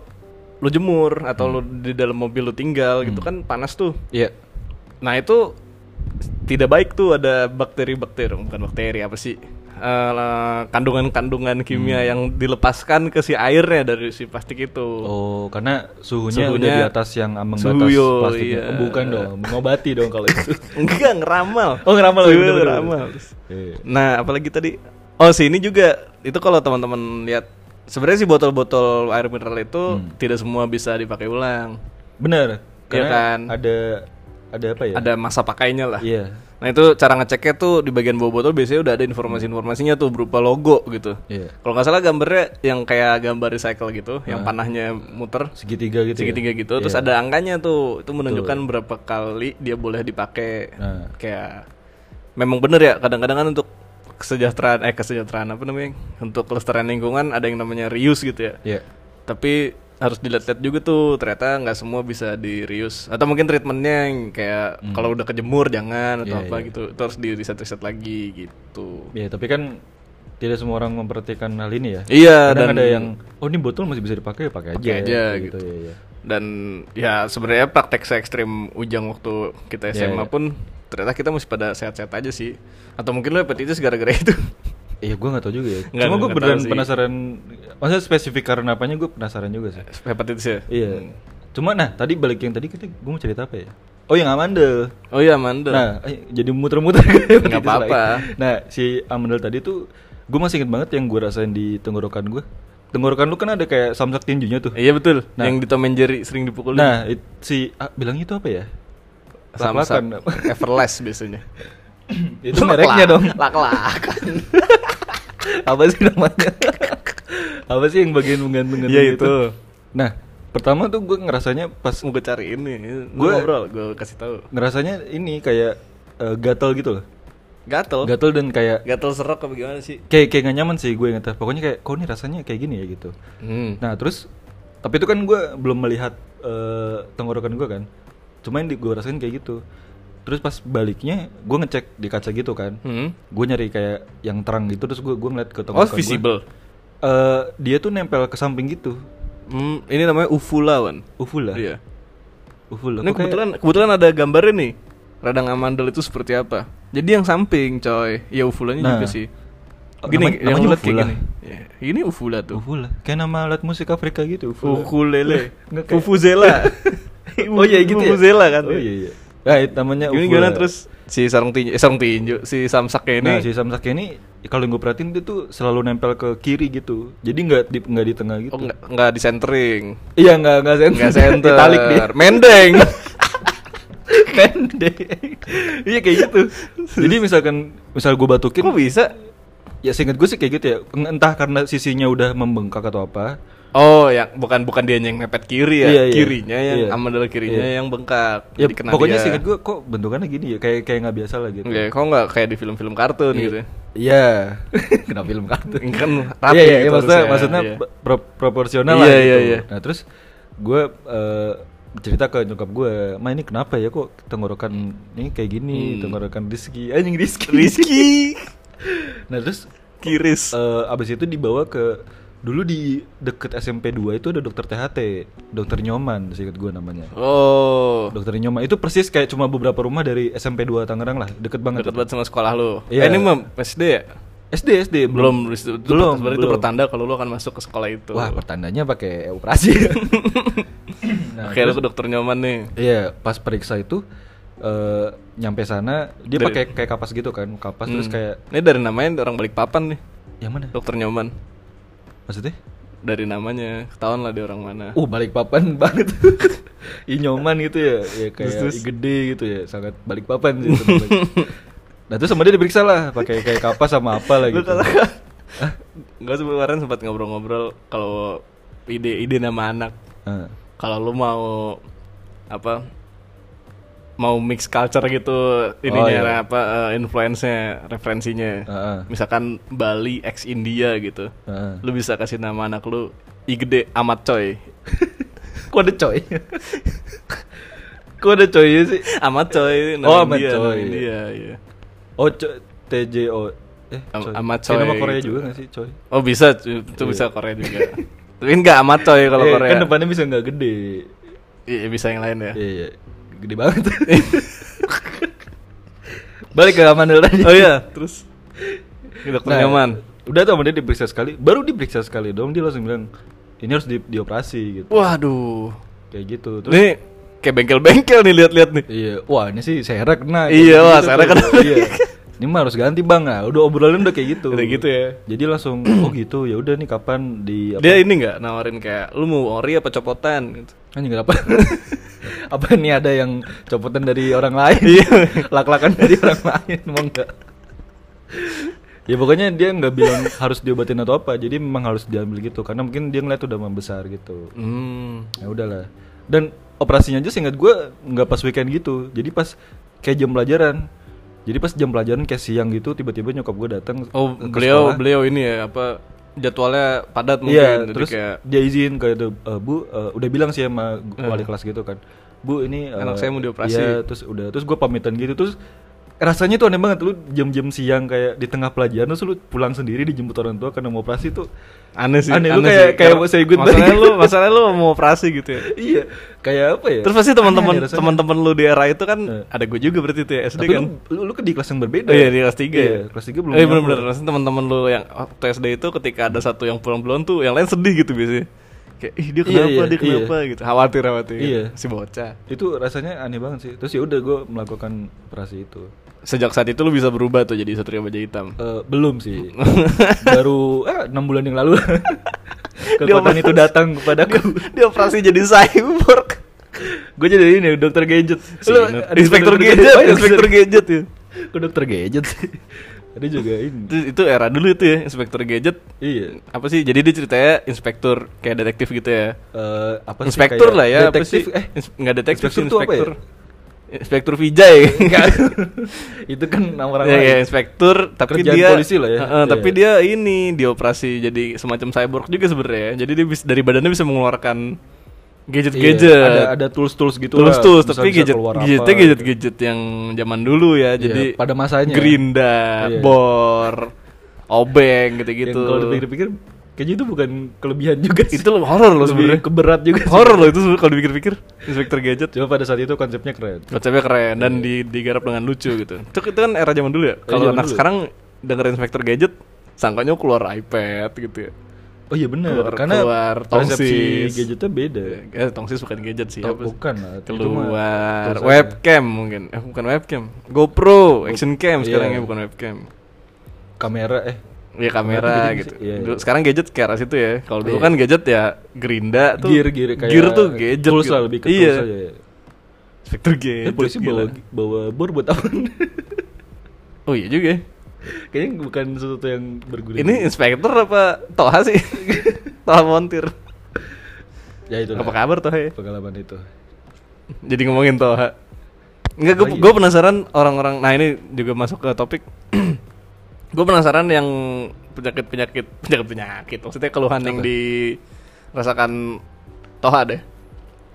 Speaker 1: lu jemur atau lu di dalam mobil lu tinggal gitu
Speaker 2: Hmm.
Speaker 1: kan panas tuh
Speaker 2: Iya.
Speaker 1: nah itu tidak baik tuh ada bakteri-bakteri bukan bakteri apa sih Eh, la- kandungan-kandungan kimia
Speaker 2: Hmm.
Speaker 1: yang dilepaskan ke si airnya dari si plastik itu
Speaker 2: Oh, karena
Speaker 1: Suhunya-
Speaker 2: suhunya, udah di atas yang ambang
Speaker 1: suhu,
Speaker 2: batas
Speaker 1: yo,
Speaker 2: plastiknya.
Speaker 1: iya.
Speaker 2: Oh, bukan
Speaker 1: <laughs>
Speaker 2: dong, mengobati dong kalau itu.
Speaker 1: <laughs> enggak ngeramal
Speaker 2: Oh, ngeramal,
Speaker 1: Iya,
Speaker 2: bener-bener.
Speaker 1: ngeramal
Speaker 2: Iya.
Speaker 1: Nah, apalagi tadi. Oh, si ini juga. Itu kalau teman-teman lihat sebenarnya sih botol-botol air mineral itu tidak semua bisa dipakai ulang.
Speaker 2: Bener. Karena
Speaker 1: kan?
Speaker 2: ada ada apa ya?
Speaker 1: Ada masa pakainya lah.
Speaker 2: Iya.
Speaker 1: Nah, itu cara ngeceknya tuh di bagian bawah botol biasanya udah ada informasi-informasinya tuh berupa logo gitu.
Speaker 2: Iya.
Speaker 1: Kalau nggak salah gambarnya yang kayak gambar recycle gitu, yang panahnya muter
Speaker 2: Segitiga gitu. ya?
Speaker 1: segitiga gitu, terus ada angkanya tuh. Itu menunjukkan berapa kali dia boleh dipakai.
Speaker 2: Nah.
Speaker 1: Kayak memang bener ya kadang-kadang kan untuk kesejahteraan eh kesejahteraan apa namanya? Untuk kelestarian lingkungan ada yang namanya reuse gitu ya.
Speaker 2: Iya.
Speaker 1: Tapi harus dilihat-lihat juga tuh ternyata nggak semua bisa di reuse atau mungkin treatmentnya yang kayak kalau udah kejemur jangan atau
Speaker 2: Hmm. Iya,
Speaker 1: apa
Speaker 2: iya.
Speaker 1: gitu itu harus di riset riset lagi gitu
Speaker 2: Iya, tapi kan tidak semua orang memperhatikan hal ini ya.
Speaker 1: iya dan
Speaker 2: Kadang ada yang oh ini botol masih bisa dipakai, ya? pakai aja.
Speaker 1: Pakai aja,
Speaker 2: Kayak
Speaker 1: gitu.
Speaker 2: Iya, iya.
Speaker 1: dan ya sebenarnya praktek se ekstrim ujang waktu kita
Speaker 2: Iya,
Speaker 1: SMA
Speaker 2: iya.
Speaker 1: pun ternyata kita masih pada sehat-sehat aja sih atau mungkin lo hepatitis gara-gara itu <laughs>
Speaker 2: Iya gue gak tau juga ya
Speaker 1: Nggak,
Speaker 2: Cuma
Speaker 1: nggak
Speaker 2: gue
Speaker 1: tahu
Speaker 2: beneran
Speaker 1: sih.
Speaker 2: penasaran Maksudnya spesifik karena apanya gue penasaran juga sih
Speaker 1: hepatitis ya
Speaker 2: Iya Cuma nah tadi balik yang tadi kita gue mau cerita apa ya Oh yang Amandel
Speaker 1: oh iya mandel
Speaker 2: Nah eh, jadi muter-muter <laughs> Hepatitis
Speaker 1: Nggak apa-apa.
Speaker 2: lagi. Nah si Amandel tadi tuh Gue masih inget banget yang gue rasain di tenggorokan gue Tenggorokan lu kan ada kayak samsak tinjunya tuh
Speaker 1: iya betul
Speaker 2: Nah.
Speaker 1: yang di Tom and Jerry sering dipukulin
Speaker 2: Nah it- si ah, bilang itu apa ya?
Speaker 1: sama
Speaker 2: Laklakan.
Speaker 1: <laughs> Everlast biasanya
Speaker 2: <laughs> itu mereknya dong
Speaker 1: Hmm. lak-lakan
Speaker 2: <laughs> apa sih namanya <laughs> apa sih yang bagian menggantung
Speaker 1: Iya, itu.
Speaker 2: nah pertama tuh gue ngerasanya pas
Speaker 1: mau gue cari ini gue
Speaker 2: Gua-
Speaker 1: ngobrol gue kasih tahu
Speaker 2: ngerasanya ini kayak eh, gatel gitu loh
Speaker 1: gatel
Speaker 2: gatel dan kayak
Speaker 1: gatel serok apa gimana sih
Speaker 2: kayak kayak gak nyaman sih gue ingetnya pokoknya kayak kok ini rasanya kayak gini ya gitu
Speaker 1: hmm.
Speaker 2: nah terus tapi itu kan gue belum melihat eh, tenggorokan gue kan cuma yang di- gue rasain kayak gitu terus pas baliknya gue ngecek di kaca gitu kan
Speaker 1: Hmm.
Speaker 2: gue nyari kayak yang terang gitu terus gue gue ngeliat ke
Speaker 1: oh
Speaker 2: tenggorokan gue.
Speaker 1: visible
Speaker 2: Eh, dia tuh nempel ke samping gitu
Speaker 1: Hmm, ini namanya ufula wan
Speaker 2: ufula
Speaker 1: iya
Speaker 2: ufula
Speaker 1: ini
Speaker 2: Kok kayak-
Speaker 1: kebetulan kebetulan ada gambarnya nih radang amandel itu seperti apa jadi yang samping coy ya ufulanya
Speaker 2: Nah.
Speaker 1: juga sih
Speaker 2: Oh,
Speaker 1: gini
Speaker 2: nama-
Speaker 1: yang
Speaker 2: namanya
Speaker 1: lu liat kayak
Speaker 2: ufula.
Speaker 1: gini Ya, ini ufula tuh
Speaker 2: ufula kayak nama alat musik Afrika gitu ufula
Speaker 1: ukulele
Speaker 2: Nggak kayak- <laughs>
Speaker 1: ufuzela
Speaker 2: oh iya gitu ya
Speaker 1: ufuzela kan
Speaker 2: oh iya iya nah, itu namanya
Speaker 1: Gimana,
Speaker 2: ufula.
Speaker 1: gimana terus si sarung tinju, eh, sarung tinju, si samsaknya ini.
Speaker 2: nah si samsak ini kalau yang gue perhatiin dia tuh selalu nempel ke kiri gitu jadi nggak di nggak di tengah gitu
Speaker 1: Oh, nggak nggak di centering.
Speaker 2: iya nggak nggak senter
Speaker 1: Enggak center.
Speaker 2: Italik dia
Speaker 1: <laughs> Mendeng.
Speaker 2: pendek iya kayak gitu jadi misalkan misal gue batukin
Speaker 1: Kok bisa?
Speaker 2: ya seingat gue sih kayak gitu ya entah karena sisinya udah membengkak atau apa
Speaker 1: Oh, ya bukan bukan dia yang mepet kiri ya.
Speaker 2: Iya, iya.
Speaker 1: Kirinya yang
Speaker 2: Iya.
Speaker 1: amandel kirinya
Speaker 2: Iya.
Speaker 1: yang bengkak.
Speaker 2: Ya,
Speaker 1: Jadi kena dia.
Speaker 2: pokoknya
Speaker 1: Iya,
Speaker 2: seinget gue kok bentukannya gini ya, kayak kayak nggak biasa lah gitu.
Speaker 1: Oke, kok nggak kayak di film-film kartun gitu ya?
Speaker 2: Iya. <laughs> Kenapa film kartun?
Speaker 1: Yang Kan rapi
Speaker 2: Iya, iya,
Speaker 1: gitu
Speaker 2: maksudnya,
Speaker 1: harusnya,
Speaker 2: maksudnya
Speaker 1: iya.
Speaker 2: pro- proporsional
Speaker 1: Iya,
Speaker 2: lah gitu.
Speaker 1: iya, iya.
Speaker 2: Nah terus gue eh, cerita ke nyokap gue, ma ini kenapa ya kok tenggorokan ini kayak gini, tenggorokan Rizky, anjing Rizky.
Speaker 1: Hmm. Rizky
Speaker 2: <laughs> Nah terus
Speaker 1: Kiris.
Speaker 2: eh, abis itu dibawa ke dulu di deket SMP 2 itu ada dokter THT, dokter Nyoman, seingat gue namanya.
Speaker 1: Oh,
Speaker 2: Dokter Nyoman itu persis kayak cuma beberapa rumah dari SMP 2 Tangerang lah, deket banget.
Speaker 1: deket banget sama sekolah lu. Eh,
Speaker 2: Iya.
Speaker 1: ini mah SD ya?
Speaker 2: SD SD
Speaker 1: Belum, belum,
Speaker 2: belum,
Speaker 1: Berarti itu
Speaker 2: belum.
Speaker 1: pertanda kalau lu akan masuk ke sekolah itu.
Speaker 2: Wah, pertandanya pakai operasi.
Speaker 1: <laughs>
Speaker 2: Nah,
Speaker 1: Oke, lu ke dokter nyoman nih.
Speaker 2: Iya, pas periksa itu eh, nyampe sana dia
Speaker 1: Dari-
Speaker 2: pakai kayak kapas gitu kan, kapas terus
Speaker 1: Hmm.
Speaker 2: kayak
Speaker 1: Ini dari namanya orang balik papan nih,
Speaker 2: yang mana?
Speaker 1: dokter nyoman.
Speaker 2: Maksudnya?
Speaker 1: Dari namanya ketahuan lah dia orang mana.
Speaker 2: Uh, balik papan <laughs> banget. Inyoman gitu ya, ya kayak
Speaker 1: Terus, terus.
Speaker 2: gede gitu ya, sangat balik papan sih.
Speaker 1: <laughs>
Speaker 2: sebenarnya. nah, terus sama dia diperiksa lah pakai kayak kapas sama apa lah
Speaker 1: Lu
Speaker 2: gitu.
Speaker 1: kata- Gua sempat kemarin sempat ngobrol-ngobrol kalau ide-ide nama anak.
Speaker 2: Nah,
Speaker 1: Kalau lu mau apa mau mix culture gitu ininya
Speaker 2: iya.
Speaker 1: apa eh, influence-nya, referensinya.
Speaker 2: ah,
Speaker 1: Misalkan Bali ex India gitu.
Speaker 2: ah, ah.
Speaker 1: Lu bisa kasih nama anak lu Igede Amat Coy. <laughs>
Speaker 2: Kok ada coy? <laughs> Kok ada coy sih?
Speaker 1: Amat Coy nama
Speaker 2: Oh, Amat
Speaker 1: India, nama
Speaker 2: Coy.
Speaker 1: India, iya.
Speaker 2: Oh, coy. TJO. Eh,
Speaker 1: Am-
Speaker 2: coy.
Speaker 1: sama
Speaker 2: Kayak nama
Speaker 1: coy
Speaker 2: Korea
Speaker 1: gitu.
Speaker 2: juga gak sih, coy?
Speaker 1: Oh, bisa itu bisa Korea juga. Tapi enggak Amat Coy kalau
Speaker 2: Eh,
Speaker 1: Korea.
Speaker 2: Iya. Kan depannya bisa nggak gede.
Speaker 1: Iya, bisa yang lain ya.
Speaker 2: Iya, iya. Gede
Speaker 1: <laughs>
Speaker 2: banget. Balik ke Amandel tadi.
Speaker 1: Oh
Speaker 2: <laughs>
Speaker 1: iya, terus Ini dokter
Speaker 2: Nah,
Speaker 1: nyaman.
Speaker 2: Udah tuh sama dia diperiksa sekali. Baru diperiksa sekali dong dia langsung bilang ini harus di, dioperasi gitu.
Speaker 1: Waduh.
Speaker 2: Kayak gitu. Terus
Speaker 1: Ini kayak bengkel-bengkel nih lihat-lihat nih.
Speaker 2: iya, wah ini sih serak nah.
Speaker 1: Iya, wah,
Speaker 2: tuh.
Speaker 1: serak kena.
Speaker 2: Iya. Ini mah harus ganti bang nah. Udah obrolan udah kayak gitu.
Speaker 1: Udah gitu ya.
Speaker 2: Jadi langsung oh gitu ya udah nih kapan di Iya, apa?
Speaker 1: Dia ini nggak nawarin kayak lu mau ori apa copotan gitu.
Speaker 2: Anjing kenapa? apa ini ada yang copotan dari orang lain? Lak-lakan dari orang lain, mau enggak? ya pokoknya dia nggak bilang harus diobatin atau apa, jadi memang harus diambil gitu karena mungkin dia ngeliat udah membesar gitu.
Speaker 1: Hmm.
Speaker 2: Ya udahlah. Dan operasinya aja seingat gua nggak pas weekend gitu, jadi pas kayak jam pelajaran. Jadi pas jam pelajaran kayak siang gitu, tiba-tiba nyokap gua datang.
Speaker 1: Oh,
Speaker 2: ke
Speaker 1: beliau
Speaker 2: sekolah.
Speaker 1: beliau ini ya apa jadwalnya padat mungkin
Speaker 2: Iya,
Speaker 1: jadi
Speaker 2: terus
Speaker 1: kayak Hmm.
Speaker 2: dia izin ke the- eh, Bu, eh, udah bilang sih sama gu- wali kelas gitu kan. Bu, ini eh,
Speaker 1: Anak saya mau dioperasi."
Speaker 2: Iya, terus udah terus gue pamitan gitu terus rasanya tuh aneh banget lu jam-jam siang kayak di tengah pelajaran terus lu pulang sendiri dijemput orang tua karena mau operasi tuh <laughs>
Speaker 1: aneh sih.
Speaker 2: Aneh, lu kayak- kayak
Speaker 1: Karena
Speaker 2: mau say goodbye.
Speaker 1: Masalahnya lu, masalahnya lu mau operasi gitu ya.
Speaker 2: iya kayak apa ya
Speaker 1: Terus pasti
Speaker 2: Aneh
Speaker 1: teman-teman
Speaker 2: rasanya.
Speaker 1: teman-teman lu di era itu kan
Speaker 2: Eh.
Speaker 1: ada gue juga berarti itu ya SD
Speaker 2: tapi
Speaker 1: kan.
Speaker 2: lu, lu, lu ke di kelas yang berbeda
Speaker 1: Oh iya di kelas 3
Speaker 2: Iya,
Speaker 1: ya.
Speaker 2: kelas 3 belum
Speaker 1: Eh
Speaker 2: nyambung.
Speaker 1: benar-benar maksudnya teman-teman lu yang waktu SD itu ketika ada satu yang pulang-pulang tuh yang lain sedih gitu biasanya. Kayak ih dia
Speaker 2: Iya,
Speaker 1: kenapa
Speaker 2: iya,
Speaker 1: dia kenapa gitu. Khawatir khawatir.
Speaker 2: Iya.
Speaker 1: Si bocah.
Speaker 2: itu rasanya aneh banget sih terus ya udah gue melakukan operasi itu
Speaker 1: Sejak saat itu lu bisa berubah tuh jadi satria baja hitam.
Speaker 2: Eh, belum sih.
Speaker 1: <laughs>
Speaker 2: Baru eh, enam bulan yang lalu kekuatan
Speaker 1: Dioperasi.
Speaker 2: itu datang kepadaku.
Speaker 1: dia operasi jadi cyborg.
Speaker 2: Gue jadi ini dokter gadget.
Speaker 1: Si
Speaker 2: Lu,
Speaker 1: Inut.
Speaker 2: ada
Speaker 1: Inspektur
Speaker 2: dokter
Speaker 1: gadget,
Speaker 2: Oh, iya,
Speaker 1: inspektur
Speaker 2: bener. <laughs>
Speaker 1: gadget ya.
Speaker 2: Kok dokter gadget <laughs> sih. Ada juga ini.
Speaker 1: Itu, itu era dulu itu ya, inspektur gadget.
Speaker 2: Iya.
Speaker 1: Apa sih? Jadi dia ceritanya inspektur kayak detektif gitu ya.
Speaker 2: Eh, apa sih,
Speaker 1: inspektur
Speaker 2: kayak
Speaker 1: lah ya,
Speaker 2: Detektif
Speaker 1: apa sih?
Speaker 2: eh
Speaker 1: Ins- nggak detektif
Speaker 2: inspektur
Speaker 1: sih,
Speaker 2: tuh apa ya?
Speaker 1: inspektur. Inspektur Vijay. <laughs>
Speaker 2: Enggak. itu kan nama orang
Speaker 1: ya,
Speaker 2: lain.
Speaker 1: ya, inspektur tapi
Speaker 2: Kerjaan
Speaker 1: dia
Speaker 2: polisi lah ya.
Speaker 1: Heeh,
Speaker 2: Iya.
Speaker 1: tapi dia ini dioperasi jadi semacam cyborg juga sebenarnya jadi dia bisa, dari badannya bisa mengeluarkan
Speaker 2: Iya,
Speaker 1: gadget-gadget
Speaker 2: ada ada tools-tools gitu
Speaker 1: tools
Speaker 2: lah.
Speaker 1: tools
Speaker 2: Bisa-
Speaker 1: tapi
Speaker 2: bisa
Speaker 1: gadget
Speaker 2: keluar apa
Speaker 1: gadgetnya
Speaker 2: gitu.
Speaker 1: gadget gadget yang zaman dulu ya
Speaker 2: Iya,
Speaker 1: jadi
Speaker 2: pada masanya.
Speaker 1: gerinda
Speaker 2: Iya.
Speaker 1: bor obeng gitu
Speaker 2: Yang
Speaker 1: gitu
Speaker 2: Kalau dipikir-pikir kayaknya itu bukan kelebihan juga sih.
Speaker 1: itu horror loh
Speaker 2: Lebih
Speaker 1: sebenarnya Oh.
Speaker 2: keberat <laughs> juga sih.
Speaker 1: horror loh itu sebenarnya kalau dipikir-pikir inspektur gadget ya.
Speaker 2: Cuma pada saat itu konsepnya keren.
Speaker 1: konsepnya keren dan di, digarap dengan lucu gitu itu, Iya. itu kan era zaman dulu ya kalau
Speaker 2: Iya, zaman
Speaker 1: anak
Speaker 2: dulu.
Speaker 1: sekarang dengerin inspektur gadget sangkanya keluar iPad gitu ya
Speaker 2: Oh iya benar,
Speaker 1: Keluar-
Speaker 2: karena
Speaker 1: keluar
Speaker 2: persepsi
Speaker 1: tongsis.
Speaker 2: gadgetnya beda.
Speaker 1: Eh, tongsis bukan gadget sih.
Speaker 2: Iya. Tau-
Speaker 1: apa sih?
Speaker 2: bukan lah, itu mah
Speaker 1: Keluar
Speaker 2: tools aja.
Speaker 1: webcam mungkin. Eh, bukan webcam. GoPro, action cam
Speaker 2: iya.
Speaker 1: sekarang ya bukan webcam.
Speaker 2: Kamera eh
Speaker 1: Iya
Speaker 2: Kamera
Speaker 1: kamera
Speaker 2: tuh
Speaker 1: gitu.
Speaker 2: gadget sih, iya,
Speaker 1: Dulu-
Speaker 2: iya.
Speaker 1: Sekarang gadget ke arah situ ya. Kalau dulu
Speaker 2: Iya.
Speaker 1: kan gadget ya gerinda tuh.
Speaker 2: gear gear kayak
Speaker 1: gear tuh gadget.
Speaker 2: Tools
Speaker 1: gitu.
Speaker 2: lah lebih ke
Speaker 1: iya.
Speaker 2: tools aja. ya.
Speaker 1: Spektur
Speaker 2: Eh,
Speaker 1: gadget.
Speaker 2: polisi bawa
Speaker 1: gila.
Speaker 2: bawa bor buat apa? <laughs>
Speaker 1: Oh iya juga. ya.
Speaker 2: Kayaknya bukan sesuatu yang berguna.
Speaker 1: Ini inspektur apa <laughs> Toha sih? Toha montir.
Speaker 2: Ya itu.
Speaker 1: Apa kabar Toha ya?
Speaker 2: Pengalaman itu.
Speaker 1: <laughs> Jadi ngomongin Toha. Enggak, gue
Speaker 2: Oh, iya.
Speaker 1: gue penasaran orang-orang. Nah ini juga masuk ke topik. <clears throat> gue penasaran yang penyakit penyakit penyakit penyakit. Maksudnya keluhan yang
Speaker 2: Apa?
Speaker 1: dirasakan Toha deh.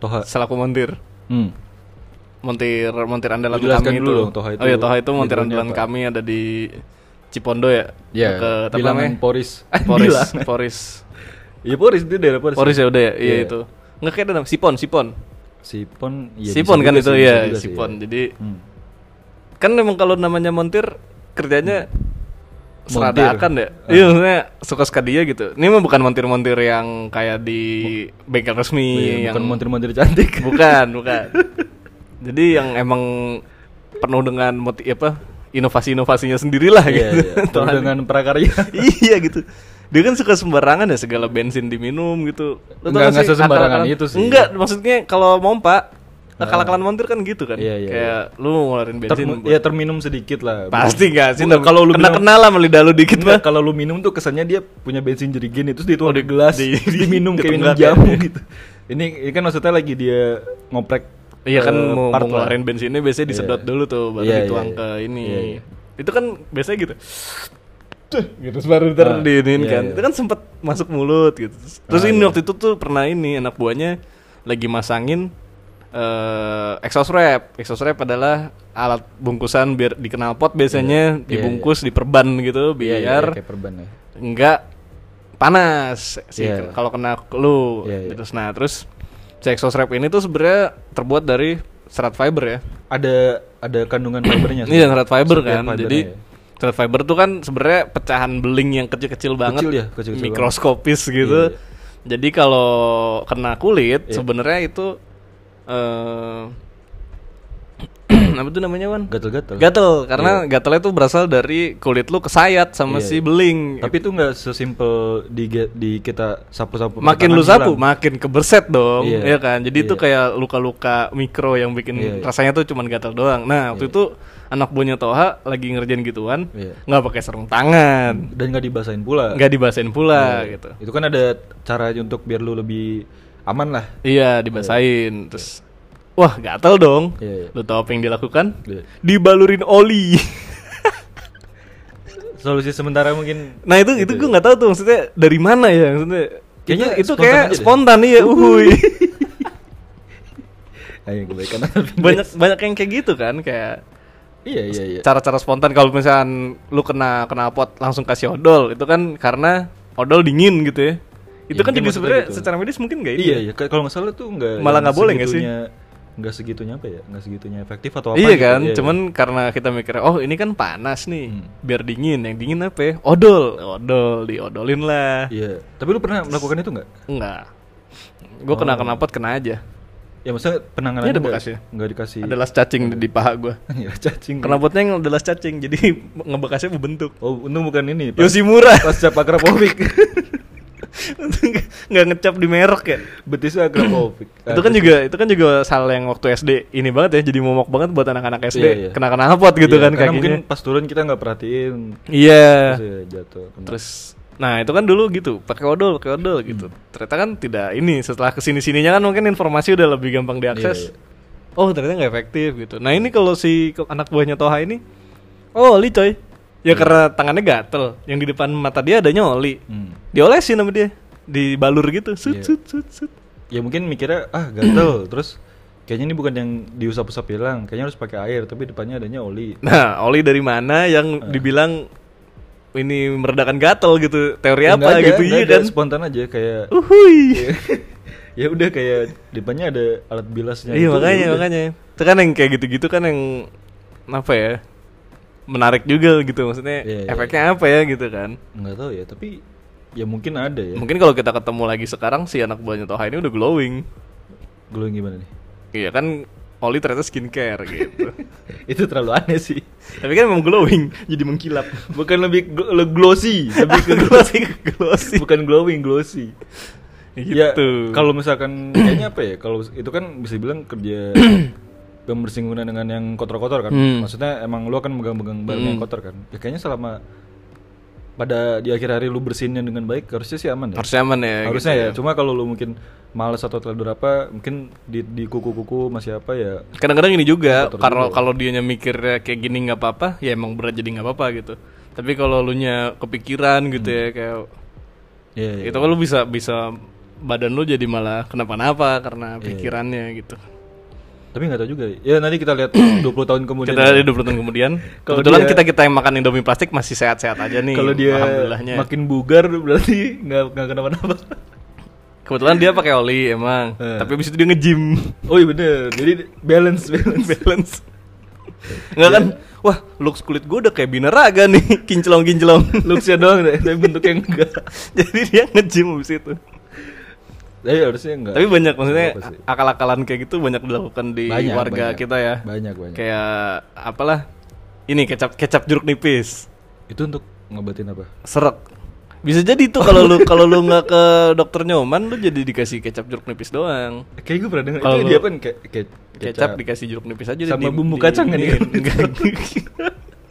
Speaker 2: Toha.
Speaker 1: Selaku montir,
Speaker 2: Hmm.
Speaker 1: montir montir andalan
Speaker 2: Lu jelaskan
Speaker 1: kami
Speaker 2: dulu
Speaker 1: itu.
Speaker 2: dong, Toha itu
Speaker 1: Oh iya Toha itu montir
Speaker 2: judulnya
Speaker 1: andalan
Speaker 2: apa?
Speaker 1: kami ada di Cipondo ya.
Speaker 2: Ya,
Speaker 1: Ke tapi
Speaker 2: bilangan
Speaker 1: namanya
Speaker 2: <laughs> Poris.
Speaker 1: Poris.
Speaker 2: Bilangan.
Speaker 1: Poris.
Speaker 2: Iya Poris itu daerah Poris.
Speaker 1: Poris ya udah ya. Iya
Speaker 2: Iya.
Speaker 1: itu. Enggak kayak ada nama Sipon, Sipon.
Speaker 2: Sipon. iya,
Speaker 1: sipon
Speaker 2: bisa
Speaker 1: kan
Speaker 2: juga
Speaker 1: itu
Speaker 2: sih, bisa
Speaker 1: ya,
Speaker 2: juga sih,
Speaker 1: sipon.
Speaker 2: ya.
Speaker 1: Jadi
Speaker 2: Hmm.
Speaker 1: kan memang kalau namanya montir kerjanya seradakan ya.
Speaker 2: Ah.
Speaker 1: Iya, maksudnya suka-suka dia gitu. Ini mah bukan montir-montir yang kayak di bengkel resmi
Speaker 2: Iya,
Speaker 1: yang
Speaker 2: bukan montir-montir cantik.
Speaker 1: <laughs> bukan, bukan. Jadi yang emang penuh dengan motif apa? inovasi-inovasinya sendirilah
Speaker 2: <laughs> Iya,
Speaker 1: gitu.
Speaker 2: iya. Penuh
Speaker 1: Tuhan.
Speaker 2: dengan prakarya.
Speaker 1: <laughs> iya gitu. Dia kan suka sembarangan ya segala bensin diminum gitu. Lu tau gak
Speaker 2: Nggak- nggak
Speaker 1: sih
Speaker 2: sesembarangan
Speaker 1: akal-akalan-
Speaker 2: itu sih. Ah.
Speaker 1: Enggak, maksudnya kalau mompa akal-akalan montir kan gitu kan.
Speaker 2: Iya, iya,
Speaker 1: Kayak lu ngeluarin bensin.
Speaker 2: Termu-
Speaker 1: buat-
Speaker 2: ya terminum sedikit lah.
Speaker 1: Pasti
Speaker 2: Bukan-
Speaker 1: gak sih?
Speaker 2: bukan- Kalau lu
Speaker 1: kena
Speaker 2: minum-
Speaker 1: kenal lah sama lidah lu dikit
Speaker 2: Enggak,
Speaker 1: mah.
Speaker 2: kalau lu minum tuh kesannya dia punya bensin jadi gini terus dituang
Speaker 1: Oh,
Speaker 2: di
Speaker 1: di-
Speaker 2: gelas
Speaker 1: di- <laughs>
Speaker 2: terus
Speaker 1: di-
Speaker 2: diminum kayak minum
Speaker 1: ditenggak ya.
Speaker 2: jamu gitu. Ini, ini kan maksudnya lagi dia ngoprek.
Speaker 1: Iya kan
Speaker 2: eh,
Speaker 1: mau,
Speaker 2: part
Speaker 1: mau
Speaker 2: lah.
Speaker 1: ngeluarin bensinnya biasanya
Speaker 2: Iya.
Speaker 1: disedot dulu tuh baru
Speaker 2: Iya,
Speaker 1: dituang
Speaker 2: iya,
Speaker 1: ke
Speaker 2: iya.
Speaker 1: ini.
Speaker 2: Iya, iya.
Speaker 1: Itu kan biasanya gitu. Tuh, gitu terus baru ntar
Speaker 2: Ah,
Speaker 1: diinin
Speaker 2: iya,
Speaker 1: kan.
Speaker 2: iya.
Speaker 1: Itu kan sempet masuk mulut gitu. Terus
Speaker 2: Ah,
Speaker 1: ini
Speaker 2: iya.
Speaker 1: waktu itu tuh pernah ini anak buahnya lagi masangin eh exhaust wrap. Exhaust wrap adalah alat bungkusan biar di knalpot biasanya
Speaker 2: Iya, iya.
Speaker 1: dibungkus diperban gitu
Speaker 2: Iya, iya,
Speaker 1: biar
Speaker 2: kayak perban ya.
Speaker 1: enggak panas sih
Speaker 2: Iya.
Speaker 1: kalau kena lu
Speaker 2: Iya, iya.
Speaker 1: terus nah terus si exhaust wrap ini tuh sebenarnya terbuat dari serat fiber ya
Speaker 2: Ada ada kandungan fibernya.
Speaker 1: ini serat fiber
Speaker 2: Setiap
Speaker 1: kan
Speaker 2: fibernya,
Speaker 1: jadi
Speaker 2: ya.
Speaker 1: serat fiber tuh kan sebenarnya pecahan beling yang kecil-kecil banget
Speaker 2: ya, kecil-kecil
Speaker 1: mikroskopis gitu
Speaker 2: Iya,
Speaker 1: jadi kalau kena kulit
Speaker 2: Iya.
Speaker 1: sebenarnya itu eh <clears throat> apa tuh namanya Wan?
Speaker 2: Gatel-gatel.
Speaker 1: Gatel, karena gatelnya tuh berasal dari kulit lu kesayat sama
Speaker 2: Iya,
Speaker 1: si
Speaker 2: iya.
Speaker 1: beling.
Speaker 2: Tapi itu nggak sesimpel di ge- di kita sapu-sapu. pakai
Speaker 1: makin
Speaker 2: tangan
Speaker 1: lu sapu
Speaker 2: hilang.
Speaker 1: makin keberset dong ya
Speaker 2: Iya.
Speaker 1: kan jadi itu
Speaker 2: Iya.
Speaker 1: kayak luka-luka mikro yang bikin
Speaker 2: Iya, iya.
Speaker 1: rasanya tuh cuman gatal doang nah waktu itu anak buahnya Toha lagi ngerjain gituan
Speaker 2: Iya.
Speaker 1: nggak pakai sarung tangan
Speaker 2: dan nggak dibasahin pula.
Speaker 1: nggak dibasahin pula gitu
Speaker 2: Itu kan ada cara untuk biar lu lebih aman lah.
Speaker 1: iya dibasahin terus wah gatal dong
Speaker 2: Iya, iya.
Speaker 1: lu tau apa yang dilakukan
Speaker 2: Iya.
Speaker 1: dibalurin oli <laughs>
Speaker 2: Solusi sementara mungkin
Speaker 1: nah itu itu gue nggak tahu tuh maksudnya dari mana ya maksudnya
Speaker 2: Iya, Kayaknya
Speaker 1: itu, itu
Speaker 2: spontan
Speaker 1: kayak
Speaker 2: aja deh.
Speaker 1: spontan iya
Speaker 2: <laughs>
Speaker 1: uhuy
Speaker 2: Ayo Ah, iya, kebaikan. <laughs>
Speaker 1: banyak banyak yang kayak gitu kan kayak
Speaker 2: iya iya iya.
Speaker 1: cara-cara spontan kalau misalkan lu kena kena pot langsung kasih odol itu kan karena odol dingin gitu ya itu
Speaker 2: Ya,
Speaker 1: kan jadi
Speaker 2: mungkin maksudnya
Speaker 1: sebenarnya
Speaker 2: gitu.
Speaker 1: secara medis mungkin nggak ya?
Speaker 2: Iya iya Ka- kalau nggak salah tuh nggak
Speaker 1: Malah
Speaker 2: yang
Speaker 1: nggak boleh nggak sih?
Speaker 2: segitunya- nggak segitunya apa ya nggak segitunya efektif atau apa
Speaker 1: iya
Speaker 2: gitu.
Speaker 1: kan
Speaker 2: Iya,
Speaker 1: cuman karena kita mikir oh ini kan panas nih
Speaker 2: Hmm.
Speaker 1: biar dingin yang dingin apa ya odol odol diodolin lah
Speaker 2: iya tapi lu pernah melakukan itu nggak
Speaker 1: enggak gue kena
Speaker 2: Oh.
Speaker 1: kena pot kena aja
Speaker 2: ya maksudnya penanganannya
Speaker 1: Ini Iya, ada
Speaker 2: nggak-
Speaker 1: bekasnya.
Speaker 2: nggak dikasih
Speaker 1: adalah
Speaker 2: <laughs>
Speaker 1: cacing di paha gue
Speaker 2: ya cacing
Speaker 1: kena potnya yang adalah cacing jadi <laughs> ngebekasnya membentuk
Speaker 2: oh untung bukan ini pas,
Speaker 1: Yoshimura <laughs>
Speaker 2: pasca akrapovic
Speaker 1: nggak ngecap di merek ya
Speaker 2: betisnya akrapovic
Speaker 1: itu kan juga itu kan juga salah yang waktu SD ini banget ya jadi momok banget buat anak-anak SD
Speaker 2: Iya, iya.
Speaker 1: kena kena apot gitu kan kakinya
Speaker 2: karena mungkin pas turun kita nggak perhatiin
Speaker 1: iya
Speaker 2: terus ya jatuh kena.
Speaker 1: terus nah itu kan dulu gitu pakai odol pakai odol
Speaker 2: Hmm.
Speaker 1: gitu ternyata kan tidak ini setelah kesini sininya kan mungkin informasi udah lebih gampang diakses
Speaker 2: Iya,
Speaker 1: oh ternyata nggak efektif gitu nah ini kalau si ke- anak buahnya Toha ini oh oli coy ya karena tangannya gatel yang di depan mata dia adanya oli
Speaker 2: Hmm.
Speaker 1: diolesin sama dia dibalur gitu sut
Speaker 2: Iya.
Speaker 1: sut sut sut
Speaker 2: ya mungkin mikirnya ah gatel terus kayaknya ini bukan yang diusap-usap hilang kayaknya harus pakai air tapi depannya adanya oli
Speaker 1: Nah, oli dari mana
Speaker 2: Eh.
Speaker 1: yang dibilang ini meredakan gatel gitu? Teori
Speaker 2: Ya,
Speaker 1: apa
Speaker 2: nggak ada,
Speaker 1: gitu
Speaker 2: nggak
Speaker 1: iya
Speaker 2: ada,
Speaker 1: kan?
Speaker 2: spontan aja
Speaker 1: <laughs>
Speaker 2: kayak
Speaker 1: Uhuy.
Speaker 2: ya udah kayak depannya ada alat bilasnya
Speaker 1: Iya
Speaker 2: gitu,
Speaker 1: makanya
Speaker 2: ya udah.
Speaker 1: makanya. Itu kan yang kayak gitu-gitu kan yang apa ya? Menarik juga gitu maksudnya.
Speaker 2: Iya, iya.
Speaker 1: efeknya apa ya gitu kan?
Speaker 2: nggak tahu ya tapi ya mungkin ada ya
Speaker 1: Mungkin kalau kita ketemu lagi sekarang si anak buahnya Toha ini udah glowing.
Speaker 2: Gue gimana nih
Speaker 1: Iya kan oli ternyata skincare gitu.
Speaker 2: <laughs> itu terlalu aneh sih
Speaker 1: Tapi kan memang glowing, jadi mengkilap.
Speaker 2: bukan lebih gl- le- glossy lebih ke
Speaker 1: <laughs> glossy, glossy.
Speaker 2: bukan glowing glossy
Speaker 1: Gitu.
Speaker 2: ya kalau misalkan <clears throat> kayaknya apa ya kalau itu kan bisa bilang kerja <coughs> yang bersinggungan dengan yang kotor-kotor kan
Speaker 1: Hmm.
Speaker 2: maksudnya emang lu akan megang-megang barang yang kotor kan ya, kayaknya selama pada di akhir hari lu bersihinnya dengan baik harusnya sih aman ya.
Speaker 1: Harus nyaman ya.
Speaker 2: harusnya
Speaker 1: gitu
Speaker 2: ya. Cuma kalau lu mungkin malas atau teledor apa, mungkin di di kuku-kuku masih apa ya.
Speaker 1: Kadang-kadang ini juga kalau kalau dianya mikirnya kayak gini nggak apa-apa, ya emang berat jadi nggak apa-apa gitu. Tapi kalau lu nya kepikiran gitu ya
Speaker 2: Hmm.
Speaker 1: kayak
Speaker 2: Iya, iya.
Speaker 1: itu kan lu bisa bisa badan lu jadi malah kenapa-napa karena
Speaker 2: Ya.
Speaker 1: pikirannya gitu.
Speaker 2: Tapi nggak tahu juga. Ya nanti kita
Speaker 1: <coughs>
Speaker 2: lihat 20 tahun kemudian.
Speaker 1: Kita ada 20 tahun kemudian,
Speaker 2: <laughs> Kalau
Speaker 1: kebetulan
Speaker 2: dia-
Speaker 1: kita kita yang makan Indomie plastik masih sehat-sehat aja nih.
Speaker 2: kalau dia
Speaker 1: alhamdulillahnya.
Speaker 2: makin bugar berarti nggak nggak kenapa-napa.
Speaker 1: Kebetulan dia pakai oli emang,
Speaker 2: Eh.
Speaker 1: tapi abis itu dia
Speaker 2: <laughs>
Speaker 1: nge-gym.
Speaker 2: <laughs> Oh iya bener. Jadi balance balance.
Speaker 1: balance. Enggak kan?
Speaker 2: Iya.
Speaker 1: Wah, looks kulit gue udah kayak binaraga nih, <laughs> kinclong-kinclong.
Speaker 2: Looksnya doang deh, tapi bentuknya enggak.
Speaker 1: <laughs> Jadi dia nge-gym abis itu.
Speaker 2: Tapi Iya, harusnya enggak.
Speaker 1: Tapi banyak maksudnya
Speaker 2: Apa sih?
Speaker 1: akal-akalan kayak gitu banyak dilakukan di
Speaker 2: Banyak,
Speaker 1: warga
Speaker 2: banyak.
Speaker 1: kita ya.
Speaker 2: Banyak banyak.
Speaker 1: Kayak apalah? Ini kecap kecap jeruk nipis,
Speaker 2: Itu untuk ngobatin apa?
Speaker 1: serak. Bisa jadi tuh kalau lu kalau lu nggak ke dokter Nyoman lu jadi dikasih kecap jeruk nipis doang.
Speaker 2: Kayak gue pernah dengar
Speaker 1: Kalau
Speaker 2: itu
Speaker 1: lu-
Speaker 2: dia kan kayak kayak
Speaker 1: Kecap, dikasih jeruk nipis aja
Speaker 2: Sama bumbu kacang kan
Speaker 1: ini.
Speaker 2: dikasih.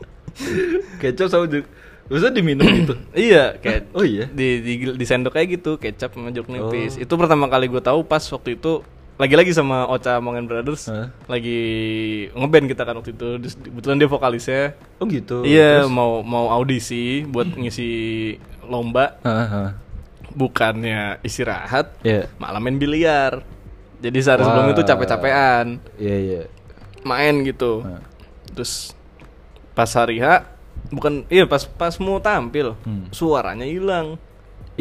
Speaker 2: <laughs> kecap sama jeruk. Maksudnya diminum gitu.
Speaker 1: Iya, kayak
Speaker 2: Oh iya. Oh.
Speaker 1: di, di di sendok kayak gitu kecap sama jeruk nipis itu pertama kali gue tahu pas waktu itu lagi-lagi sama Ocha Mongen Brothers
Speaker 2: Hah?
Speaker 1: lagi ngeband kita kan waktu itu Terus kebetulan dia vokalisnya
Speaker 2: Oh gitu.
Speaker 1: iya
Speaker 2: Terus-
Speaker 1: mau mau audisi buat ngisi lomba
Speaker 2: Ah, ah.
Speaker 1: bukannya istirahat
Speaker 2: Iya.
Speaker 1: malah main biliar jadi sehari
Speaker 2: Wah.
Speaker 1: sebelum itu capek-capean
Speaker 2: Iya iya.
Speaker 1: main gitu
Speaker 2: Hah.
Speaker 1: terus pas hari H bukan iya pas pas mau tampil
Speaker 2: Hmm.
Speaker 1: suaranya hilang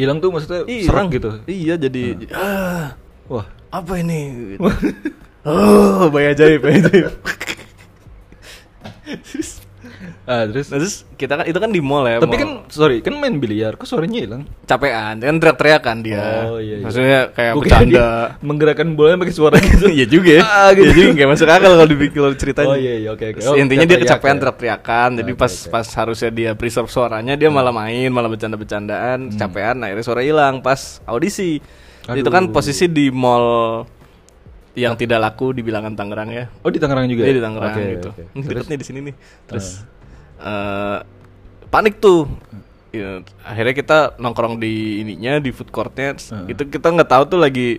Speaker 2: Hilang tuh maksudnya
Speaker 1: Iya,
Speaker 2: serang
Speaker 1: orang-
Speaker 2: gitu.
Speaker 1: Iya jadi "Ah,
Speaker 2: Wah.
Speaker 1: apa ini?
Speaker 2: <laughs>
Speaker 1: Gitu. oh, bayar ajaib, bayi ajaib.
Speaker 2: Ah, terus
Speaker 1: nah, terus kita kan itu kan di mall ya.
Speaker 2: tapi
Speaker 1: mall.
Speaker 2: kan sorry, kan main biliar kok suaranya hilang?
Speaker 1: capean, kan teriak-teriakan dia.
Speaker 2: Oh, iya, iya.
Speaker 1: Maksudnya kayak
Speaker 2: Gua kira
Speaker 1: bercanda.
Speaker 2: dia menggerakkan bolanya pakai suara gitu.
Speaker 1: <laughs> Iya juga ya.
Speaker 2: Ah, gitu.
Speaker 1: Iya juga nggak masuk akal kalau dipikir kalau ceritanya.
Speaker 2: Oh, iya, iya, oke, oke.
Speaker 1: Terus
Speaker 2: Oh,
Speaker 1: intinya dia
Speaker 2: teriak-teriak
Speaker 1: kecapean
Speaker 2: ya.
Speaker 1: teriak-teriakan. Jadi
Speaker 2: Oke,
Speaker 1: pas
Speaker 2: oke.
Speaker 1: pas harusnya dia preserve suaranya dia malah main, malah
Speaker 2: Hmm.
Speaker 1: bercanda-bercandaan, kecapean akhirnya suara hilang pas audisi. Itu kan
Speaker 2: Aduh.
Speaker 1: posisi di mall yang tidak laku di bilangan Tangerang ya.
Speaker 2: Oh, di Tangerang juga.
Speaker 1: Iya
Speaker 2: ya?
Speaker 1: di Tangerang
Speaker 2: Oke,
Speaker 1: gitu.
Speaker 2: oke.
Speaker 1: Ini
Speaker 2: Terus Hmm.
Speaker 1: deket nih di sini nih. Terus eh, panik tuh. Ya, akhirnya kita nongkrong di ininya di food courtnya. Terus
Speaker 2: Heeh.
Speaker 1: Itu kita nggak tahu tuh lagi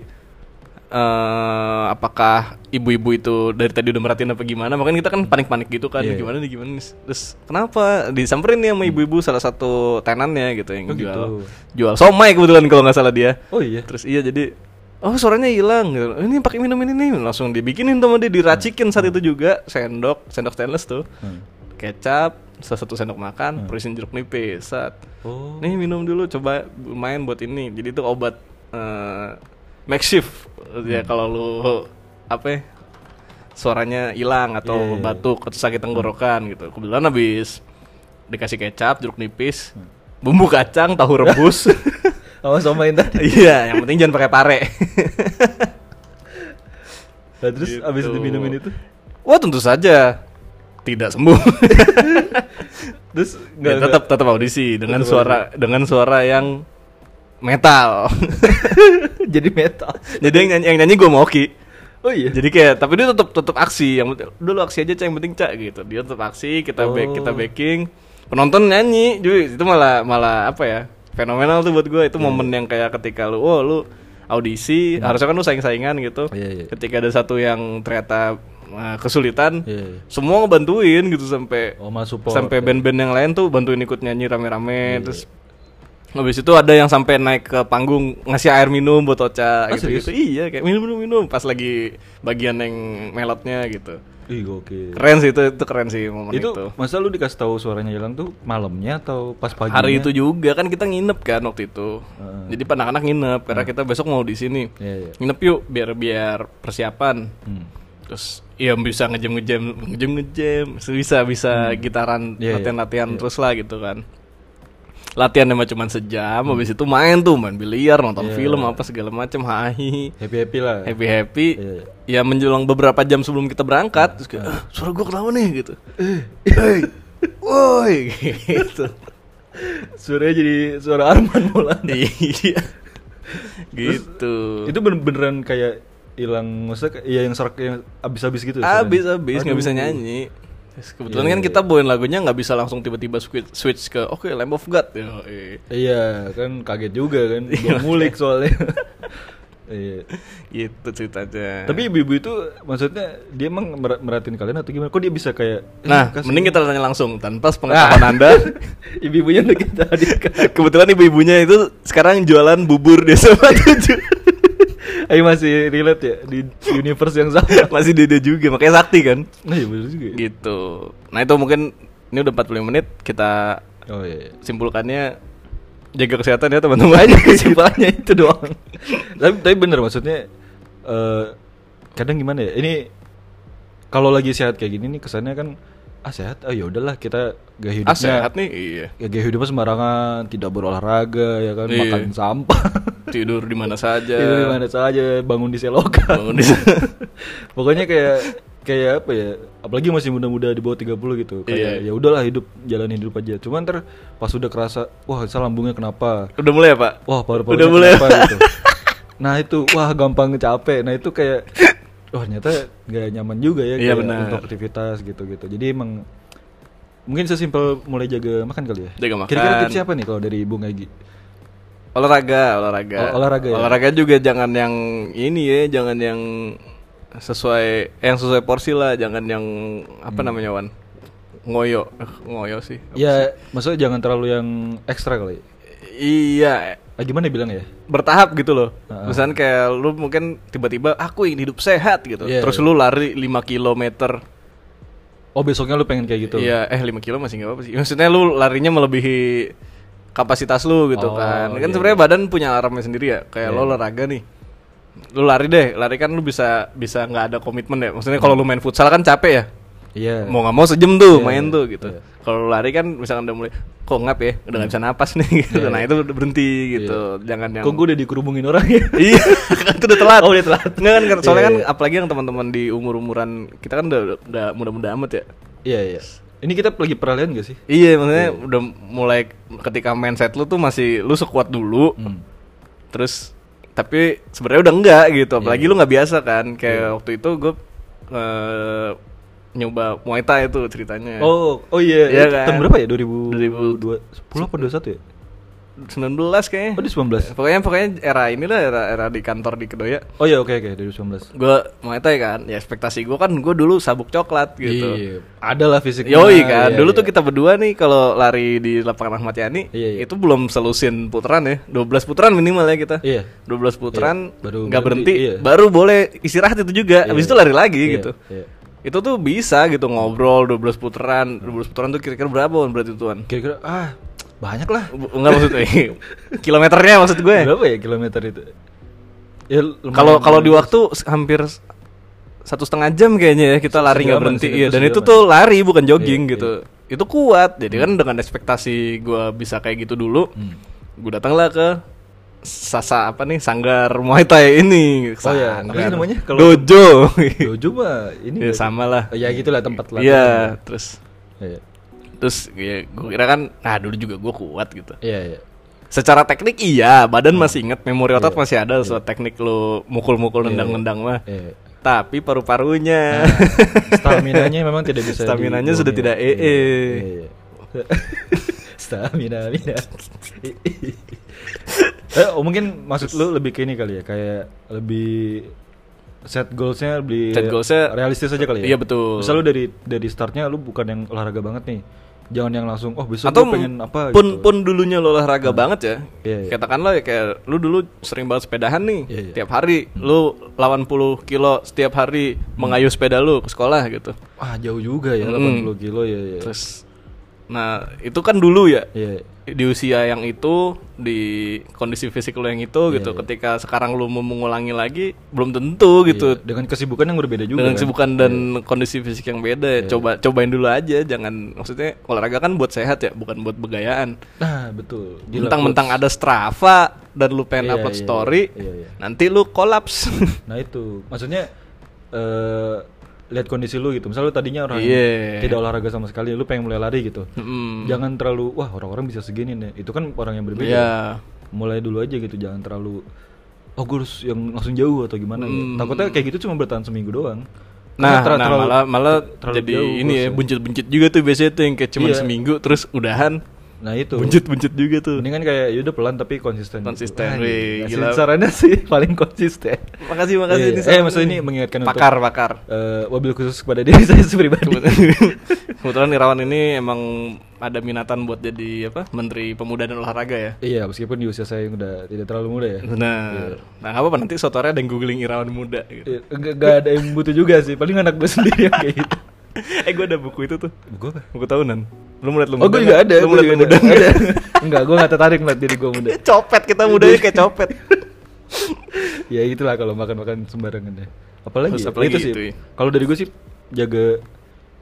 Speaker 1: eh apakah ibu-ibu itu dari tadi udah merhatiin apa gimana. Makanya kita kan panik-panik gitu kan.
Speaker 2: Iya, iya.
Speaker 1: Gimana nih gimana nih. Terus kenapa disamperin nih sama ibu-ibu salah satu tenannya gitu yang
Speaker 2: Oh,
Speaker 1: jual
Speaker 2: gitu.
Speaker 1: jual somai kebetulan kalau nggak salah dia.
Speaker 2: Oh iya.
Speaker 1: Terus iya jadi oh suaranya hilang gitu. Ini pakai minum ini nih langsung dibikinin sama dia diracikin saat itu juga sendok, sendok stainless tuh.
Speaker 2: Hmm.
Speaker 1: Kecap, salah satu sendok makan, perisin jeruk nipis. Saat.
Speaker 2: Oh.
Speaker 1: Nih minum dulu coba main buat ini. Jadi itu obat eh, makeshift ya
Speaker 2: Hmm.
Speaker 1: kalau lu apa ya, suaranya hilang atau
Speaker 2: Iya, iya, iya.
Speaker 1: batuk atau sakit tenggorokan gitu. Kebetulan habis dikasih kecap, jeruk nipis,
Speaker 2: Hmm.
Speaker 1: bumbu kacang, tahu rebus.
Speaker 2: <laughs> Sama sama yang tadi.
Speaker 1: Iya, yang penting jangan pakai pare.
Speaker 2: Nah, terus
Speaker 1: Gitu.
Speaker 2: abis diminumin itu
Speaker 1: Wah tentu saja tidak sembuh.
Speaker 2: terus
Speaker 1: Ya, tetap tetap audisi dengan
Speaker 2: Tetap
Speaker 1: suara dengan suara yang <laughs> metal.
Speaker 2: jadi metal.
Speaker 1: <laughs> Jadi yang nyanyi, yang nyanyi gue mau oki.
Speaker 2: Oh iya.
Speaker 1: Jadi kayak tapi dia tetap tetap aksi yang penting- udah lu aksi aja cah yang penting cah gitu. Dia tetap aksi, kita back
Speaker 2: Oh.
Speaker 1: kita backing, penonton nyanyi. Jadi itu malah malah apa ya? Fenomenal tuh buat gue itu momen yang kayak ketika lu oh lu audisi, harusnya kan lu saing-saingan gitu.
Speaker 2: Iya, iya.
Speaker 1: Ketika ada satu yang ternyata eh, kesulitan,
Speaker 2: Iya, iya.
Speaker 1: semua ngebantuin gitu sampai
Speaker 2: Oh, mas support. Iya,
Speaker 1: sampai band-band yang lain tuh bantuin ikut nyanyi rame-rame terus habis itu ada yang sampai naik ke panggung ngasih air minum buat Ocha
Speaker 2: Ah,
Speaker 1: gitu,
Speaker 2: serius?
Speaker 1: gitu iya kayak minum minum minum pas lagi bagian yang melotnya gitu
Speaker 2: Ih, gokil.
Speaker 1: keren sih itu itu keren sih momen
Speaker 2: Iya. Itu
Speaker 1: itu,
Speaker 2: masa lu dikasih tahu suaranya hilang tuh malamnya atau pas pagi?
Speaker 1: hari itu juga kan kita nginep kan waktu itu
Speaker 2: Heeh.
Speaker 1: jadi anak-anak nginep
Speaker 2: Ah.
Speaker 1: karena kita besok mau di sini
Speaker 2: Iya, iya.
Speaker 1: nginep yuk biar biar persiapan
Speaker 2: Hmm.
Speaker 1: terus ya bisa ngejam ngejam ngejam ngejam bisa bisa gitaran
Speaker 2: Iya, iya.
Speaker 1: latihan latihan terus lah gitu kan latihan emang cuma sejam habis itu main tuh main biliar nonton
Speaker 2: Iya.
Speaker 1: film apa segala macem hahi
Speaker 2: Happy-happy lah.
Speaker 1: happy happy
Speaker 2: Iya,
Speaker 1: ya menjelang beberapa jam sebelum kita berangkat terus kayak, "Ah, suara gua kenapa nih gitu
Speaker 2: Eh,
Speaker 1: hey woi <laughs> gitu
Speaker 2: Suaranya jadi suara Arman Maulana.
Speaker 1: iya gitu
Speaker 2: Itu bener- beneran iya, kayak hilang maksudnya kayak- ya yang serak yang abis-abis gitu.
Speaker 1: abis abis nggak bisa
Speaker 2: Aduh. Iya,
Speaker 1: nyanyi Terus kebetulan kan kita bawain lagunya nggak bisa langsung tiba-tiba switch, switch ke oke Lamb of God. Yoi.
Speaker 2: Iya, kan kaget juga
Speaker 1: <laughs>
Speaker 2: kan. Belum mulik soalnya. Iya.
Speaker 1: Gitu ceritanya.
Speaker 2: Tapi ibu-ibu itu maksudnya dia emang mer- merhatiin kalian atau gimana? Kok dia bisa kayak "Eh,
Speaker 1: nah,
Speaker 2: kasih Ah. Nah.
Speaker 1: mending kita tanya langsung tanpa sepengetahuan Anda.
Speaker 2: <laughs> ibu-ibunya udah kita hadirkan.
Speaker 1: Kebetulan ibu-ibunya itu sekarang jualan bubur desa tujuh.
Speaker 2: <laughs> Ayo masih relate ya di universe yang sama. <laughs>
Speaker 1: Masih dede juga, makanya sakti kan.
Speaker 2: Nah, iya bener juga. ya.
Speaker 1: Gitu. Nah, itu mungkin ini udah 45 menit kita
Speaker 2: Oh iya. <laughs> iya.
Speaker 1: simpulkannya jaga kesehatan ya teman-teman.
Speaker 2: <laughs> kesimpulannya itu doang. tapi tapi bener maksudnya eh kadang gimana ya? Ini kalau lagi sehat kayak gini nih kesannya kan ah sehat, oh ya udahlah kita gaya hidupnya
Speaker 1: ah, sehat nih. Iya.
Speaker 2: ya gaya hidupnya sembarangan, tidak berolahraga ya kan,
Speaker 1: Iya.
Speaker 2: makan sampah. <laughs>
Speaker 1: Tidur di mana saja.
Speaker 2: Tidur di mana saja, bangun di selokan.
Speaker 1: Ya. Bangun di sana.
Speaker 2: <laughs> Pokoknya kayak kayak apa ya? Apalagi masih muda-muda di bawah 30 gitu. Kayak
Speaker 1: Iya.
Speaker 2: ya udahlah hidup, jalani hidup aja. Cuman ntar pas udah kerasa, wah saya lambungnya kenapa?
Speaker 1: Udah mulai ya, Pak?
Speaker 2: Wah, paru-paru
Speaker 1: Udah mulai.
Speaker 2: kenapa gitu. Nah, itu wah gampang capek. Nah, itu kayak wah ternyata gak nyaman juga ya
Speaker 1: Iya,
Speaker 2: kayak
Speaker 1: benar.
Speaker 2: untuk aktivitas gitu-gitu. Jadi emang mungkin sesimpel mulai jaga makan kali ya.
Speaker 1: Jaga makan.
Speaker 2: Kira-kira tips siapa nih kalau dari Bung Egi?
Speaker 1: Olahraga, olahraga.
Speaker 2: Ol- olahraga ya?
Speaker 1: Olahraga juga jangan yang ini ya, jangan yang sesuai eh, yang sesuai porsi lah, jangan yang apa
Speaker 2: Hmm.
Speaker 1: namanya, Wan? Ngoyo. Eh, Ngoyo sih.
Speaker 2: Ya, maksudnya jangan terlalu yang ekstra kali.
Speaker 1: Iya,
Speaker 2: Ah, gimana bilang ya?
Speaker 1: bertahap gitu loh.
Speaker 2: Heeh.
Speaker 1: Misalnya kayak lu mungkin tiba-tiba aku ingin hidup sehat gitu.
Speaker 2: Iya,
Speaker 1: Terus
Speaker 2: iya.
Speaker 1: lu lari 5 kilometer
Speaker 2: Oh, besoknya lu pengen kayak gitu.
Speaker 1: Iya, eh 5 kilo masih nggak apa-apa sih. Maksudnya lu larinya melebihi kapasitas lu gitu
Speaker 2: Oh,
Speaker 1: kan. Kan
Speaker 2: iya,
Speaker 1: sebenarnya badan punya alarmnya sendiri ya. Kayak lo olahraga nih. Lu lari deh, lari kan lu bisa bisa nggak ada komitmen ya. Maksudnya kalau lu main futsal kan capek ya.
Speaker 2: Iya.
Speaker 1: Mau nggak mau sejam tuh
Speaker 2: Iya,
Speaker 1: main
Speaker 2: iya,
Speaker 1: tuh gitu.
Speaker 2: iya.
Speaker 1: Kalau lu lari kan misalkan udah mulai kok ngap ya, udah nggak bisa napas nih <laughs> gitu.
Speaker 2: Iya,
Speaker 1: Nah,
Speaker 2: iya.
Speaker 1: itu udah berhenti gitu. Jangan yang
Speaker 2: Kok gue udah dikerubungin orang ya?
Speaker 1: <laughs>
Speaker 2: <laughs>
Speaker 1: iya kan itu udah telat
Speaker 2: Oh, udah telat.
Speaker 1: Nggak kan soalnya
Speaker 2: Iya,
Speaker 1: kan
Speaker 2: iya.
Speaker 1: apalagi yang teman-teman di umur umuran kita kan udah udah muda-muda amat ya
Speaker 2: Iya, iya. Ini kita lagi peralihan gak sih?
Speaker 1: Iya maksudnya udah mulai ketika mindset lu tuh masih lu sekuat dulu
Speaker 2: Hmm.
Speaker 1: terus tapi sebenarnya udah enggak gitu
Speaker 2: Iya.
Speaker 1: apalagi lu nggak biasa kan kayak waktu itu gue nyoba Muay Thai itu ceritanya
Speaker 2: Oh, oh iya.
Speaker 1: Iya
Speaker 2: Itu
Speaker 1: kan? Eh.
Speaker 2: Tahun berapa ya?
Speaker 1: 2000.
Speaker 2: 2000 10 apa 21 ya?
Speaker 1: 19 kayaknya
Speaker 2: Oh, di 19.
Speaker 1: pokoknya pokoknya era inilah era era di kantor di Kedoya
Speaker 2: Oh iya, oke oke, 2019.
Speaker 1: gue Muay Thai kan ya ekspektasi gue kan gue dulu sabuk coklat gitu
Speaker 2: Iya, ada lah fisiknya.
Speaker 1: Yoi kan,
Speaker 2: Iya,
Speaker 1: dulu
Speaker 2: iya.
Speaker 1: tuh kita berdua nih kalau lari di lapangan Ahmad Yani
Speaker 2: Iya, iya.
Speaker 1: itu belum selusin putaran ya, 12 putaran minimal ya kita.
Speaker 2: Iya.
Speaker 1: 12 putaran
Speaker 2: Iya, baru
Speaker 1: nggak
Speaker 2: berhenti,
Speaker 1: berhenti,
Speaker 2: iya.
Speaker 1: baru boleh istirahat itu juga,
Speaker 2: Iya,
Speaker 1: habis itu lari lagi
Speaker 2: iya,
Speaker 1: gitu.
Speaker 2: iya.
Speaker 1: Itu tuh bisa gitu ngobrol 12 putaran, 12 putaran tuh kira-kira berapa Wan, berarti tuan?
Speaker 2: Kira-kira ah, banyak lah.
Speaker 1: Enggak
Speaker 2: <laughs>
Speaker 1: maksudnya kilometernya maksud gue.
Speaker 2: Berapa ya kilometer itu? Ya, lumayan.
Speaker 1: Eh. Kalau kalau di waktu s- hampir s- satu setengah jam kayaknya ya kita lari nggak
Speaker 2: sejaman
Speaker 1: berhenti
Speaker 2: sih, ya.
Speaker 1: iya
Speaker 2: itu
Speaker 1: dan itu
Speaker 2: sejaman.
Speaker 1: tuh lari bukan jogging
Speaker 2: Iya,
Speaker 1: gitu itu kuat jadi
Speaker 2: Hmm.
Speaker 1: kan dengan ekspektasi gua bisa kayak gitu dulu gue datanglah ke sasa apa nih sanggar muay thai ini
Speaker 2: Oh ya, apa sih namanya? Kalau-
Speaker 1: dojo
Speaker 2: Dojo mah ini
Speaker 1: ya
Speaker 2: nggak sih?
Speaker 1: sama lah
Speaker 2: Ya gitulah tempat lah.
Speaker 1: iya terus
Speaker 2: Iya.
Speaker 1: terus ya, gue kira kan nah dulu juga gue kuat gitu
Speaker 2: Iya, iya.
Speaker 1: secara teknik iya
Speaker 2: Hmm.
Speaker 1: badan masih inget memori otot masih ada soal teknik lo mukul-mukul nendang-nendang mah
Speaker 2: Iya.
Speaker 1: tapi
Speaker 2: Nah,
Speaker 1: <laughs> paru-parunya
Speaker 2: Stamina-nya memang tidak bisa
Speaker 1: Staminanya
Speaker 2: dibohongi.
Speaker 1: sudah tidak
Speaker 2: Iya,
Speaker 1: EE.
Speaker 2: iya, <laughs> iya. Stamina, mina. <laughs> eh, oh, mungkin maksud lu lebih ke ini kali ya, kayak lebih set goalsnya lebih
Speaker 1: Set goals-nya-
Speaker 2: realistis aja kali ya.
Speaker 1: Iya, betul.
Speaker 2: Misal lu dari dari startnya lu bukan yang olahraga banget nih, jangan yang langsung oh besok
Speaker 1: atau
Speaker 2: gua pengen apa
Speaker 1: pun
Speaker 2: gitu.
Speaker 1: pun dulunya lo olahraga banget ya
Speaker 2: Iya, iya.
Speaker 1: katakanlah ya kayak lu dulu sering banget sepedahan nih
Speaker 2: Iya, iya.
Speaker 1: tiap hari lu lawan puluh kilo setiap hari mengayuh sepeda lu ke sekolah gitu
Speaker 2: Ah jauh juga ya, 80 kilo ya. ya.
Speaker 1: terus nah itu kan dulu ya
Speaker 2: Iya.
Speaker 1: di usia yang itu di kondisi fisik lo yang itu
Speaker 2: Iya,
Speaker 1: gitu ketika sekarang lu mau mengulangi lagi belum tentu gitu
Speaker 2: Iya, Dengan kesibukan yang berbeda juga.
Speaker 1: dengan
Speaker 2: kan? Iya.
Speaker 1: kesibukan dan kondisi fisik yang beda ya. coba cobain dulu aja jangan maksudnya olahraga kan buat sehat ya bukan buat begayaan
Speaker 2: Nah, betul. Gila,
Speaker 1: mentang-mentang ada Strava dan lu pengen
Speaker 2: Iya,
Speaker 1: upload
Speaker 2: iya,
Speaker 1: story
Speaker 2: iya, iya.
Speaker 1: nanti lu kolaps <laughs>
Speaker 2: Nah itu, maksudnya eh lihat kondisi lu gitu. Misal lu tadinya orang
Speaker 1: Iya.
Speaker 2: tidak olahraga sama sekali, lu pengen mulai lari gitu.
Speaker 1: Mm.
Speaker 2: Jangan terlalu wah orang-orang bisa segini nih. Itu kan orang yang berbeda.
Speaker 1: Iya.
Speaker 2: Mulai dulu aja gitu, jangan terlalu oh gue harus yang langsung jauh atau gimana ya. Takutnya kayak gitu cuma bertahan seminggu doang.
Speaker 1: Hmm. Nah,
Speaker 2: Karena ter-
Speaker 1: nah,
Speaker 2: terlalu-
Speaker 1: malah malah
Speaker 2: terlalu
Speaker 1: jadi
Speaker 2: jauh
Speaker 1: ini ya
Speaker 2: bosnya.
Speaker 1: buncit-buncit juga tuh biasanya tuh yang kayak cuman
Speaker 2: Iya.
Speaker 1: seminggu terus udahan
Speaker 2: Nah itu.
Speaker 1: buncit-buncit juga tuh.
Speaker 2: Mendingan kayak yaudah pelan tapi konsisten. gitu.
Speaker 1: Konsisten,
Speaker 2: Ah,
Speaker 1: wih,
Speaker 2: iya.
Speaker 1: gila.
Speaker 2: Sarannya sih <laughs> paling konsisten.
Speaker 1: Makasih makasih
Speaker 2: Iya.
Speaker 1: ini.
Speaker 2: Eh
Speaker 1: saran
Speaker 2: maksud ini
Speaker 1: nih.
Speaker 2: mengingatkan
Speaker 1: pakar
Speaker 2: untuk
Speaker 1: pakar.
Speaker 2: eh, wabil khusus kepada diri saya pribadi. <laughs>
Speaker 1: Kebetulan- Kebetulan Irawan ini emang ada minatan buat jadi apa? Menteri Pemuda dan Olahraga ya.
Speaker 2: Iya, meskipun di usia saya yang udah tidak terlalu muda ya.
Speaker 1: Benar. Nah, nggak apa-apa nanti sotornya ada yang googling Irawan muda gitu.
Speaker 2: Iya, Nggak nggak ada yang butuh juga sih, paling anak gue <laughs> sendiri yang kayak gitu.
Speaker 1: eh, gua ada buku itu tuh.
Speaker 2: Gue apa?
Speaker 1: Buku tahunan. Lu melihat lu
Speaker 2: Oh, gue
Speaker 1: nggak?
Speaker 2: juga ada. Iya,
Speaker 1: Lu
Speaker 2: Gue
Speaker 1: melihat
Speaker 2: juga
Speaker 1: lu muda
Speaker 2: ada.
Speaker 1: nggak? <laughs>
Speaker 2: ada. Enggak, gue gak tertarik ngeliat diri gue muda.
Speaker 1: copet kita
Speaker 2: Iya.
Speaker 1: mudanya kayak copet.
Speaker 2: Ya itulah kalau makan-makan sembarangan ya. Apalagi,
Speaker 1: Terus
Speaker 2: ya?
Speaker 1: apalagi
Speaker 2: itu sih.
Speaker 1: itu ya.
Speaker 2: Kalau dari gue sih jaga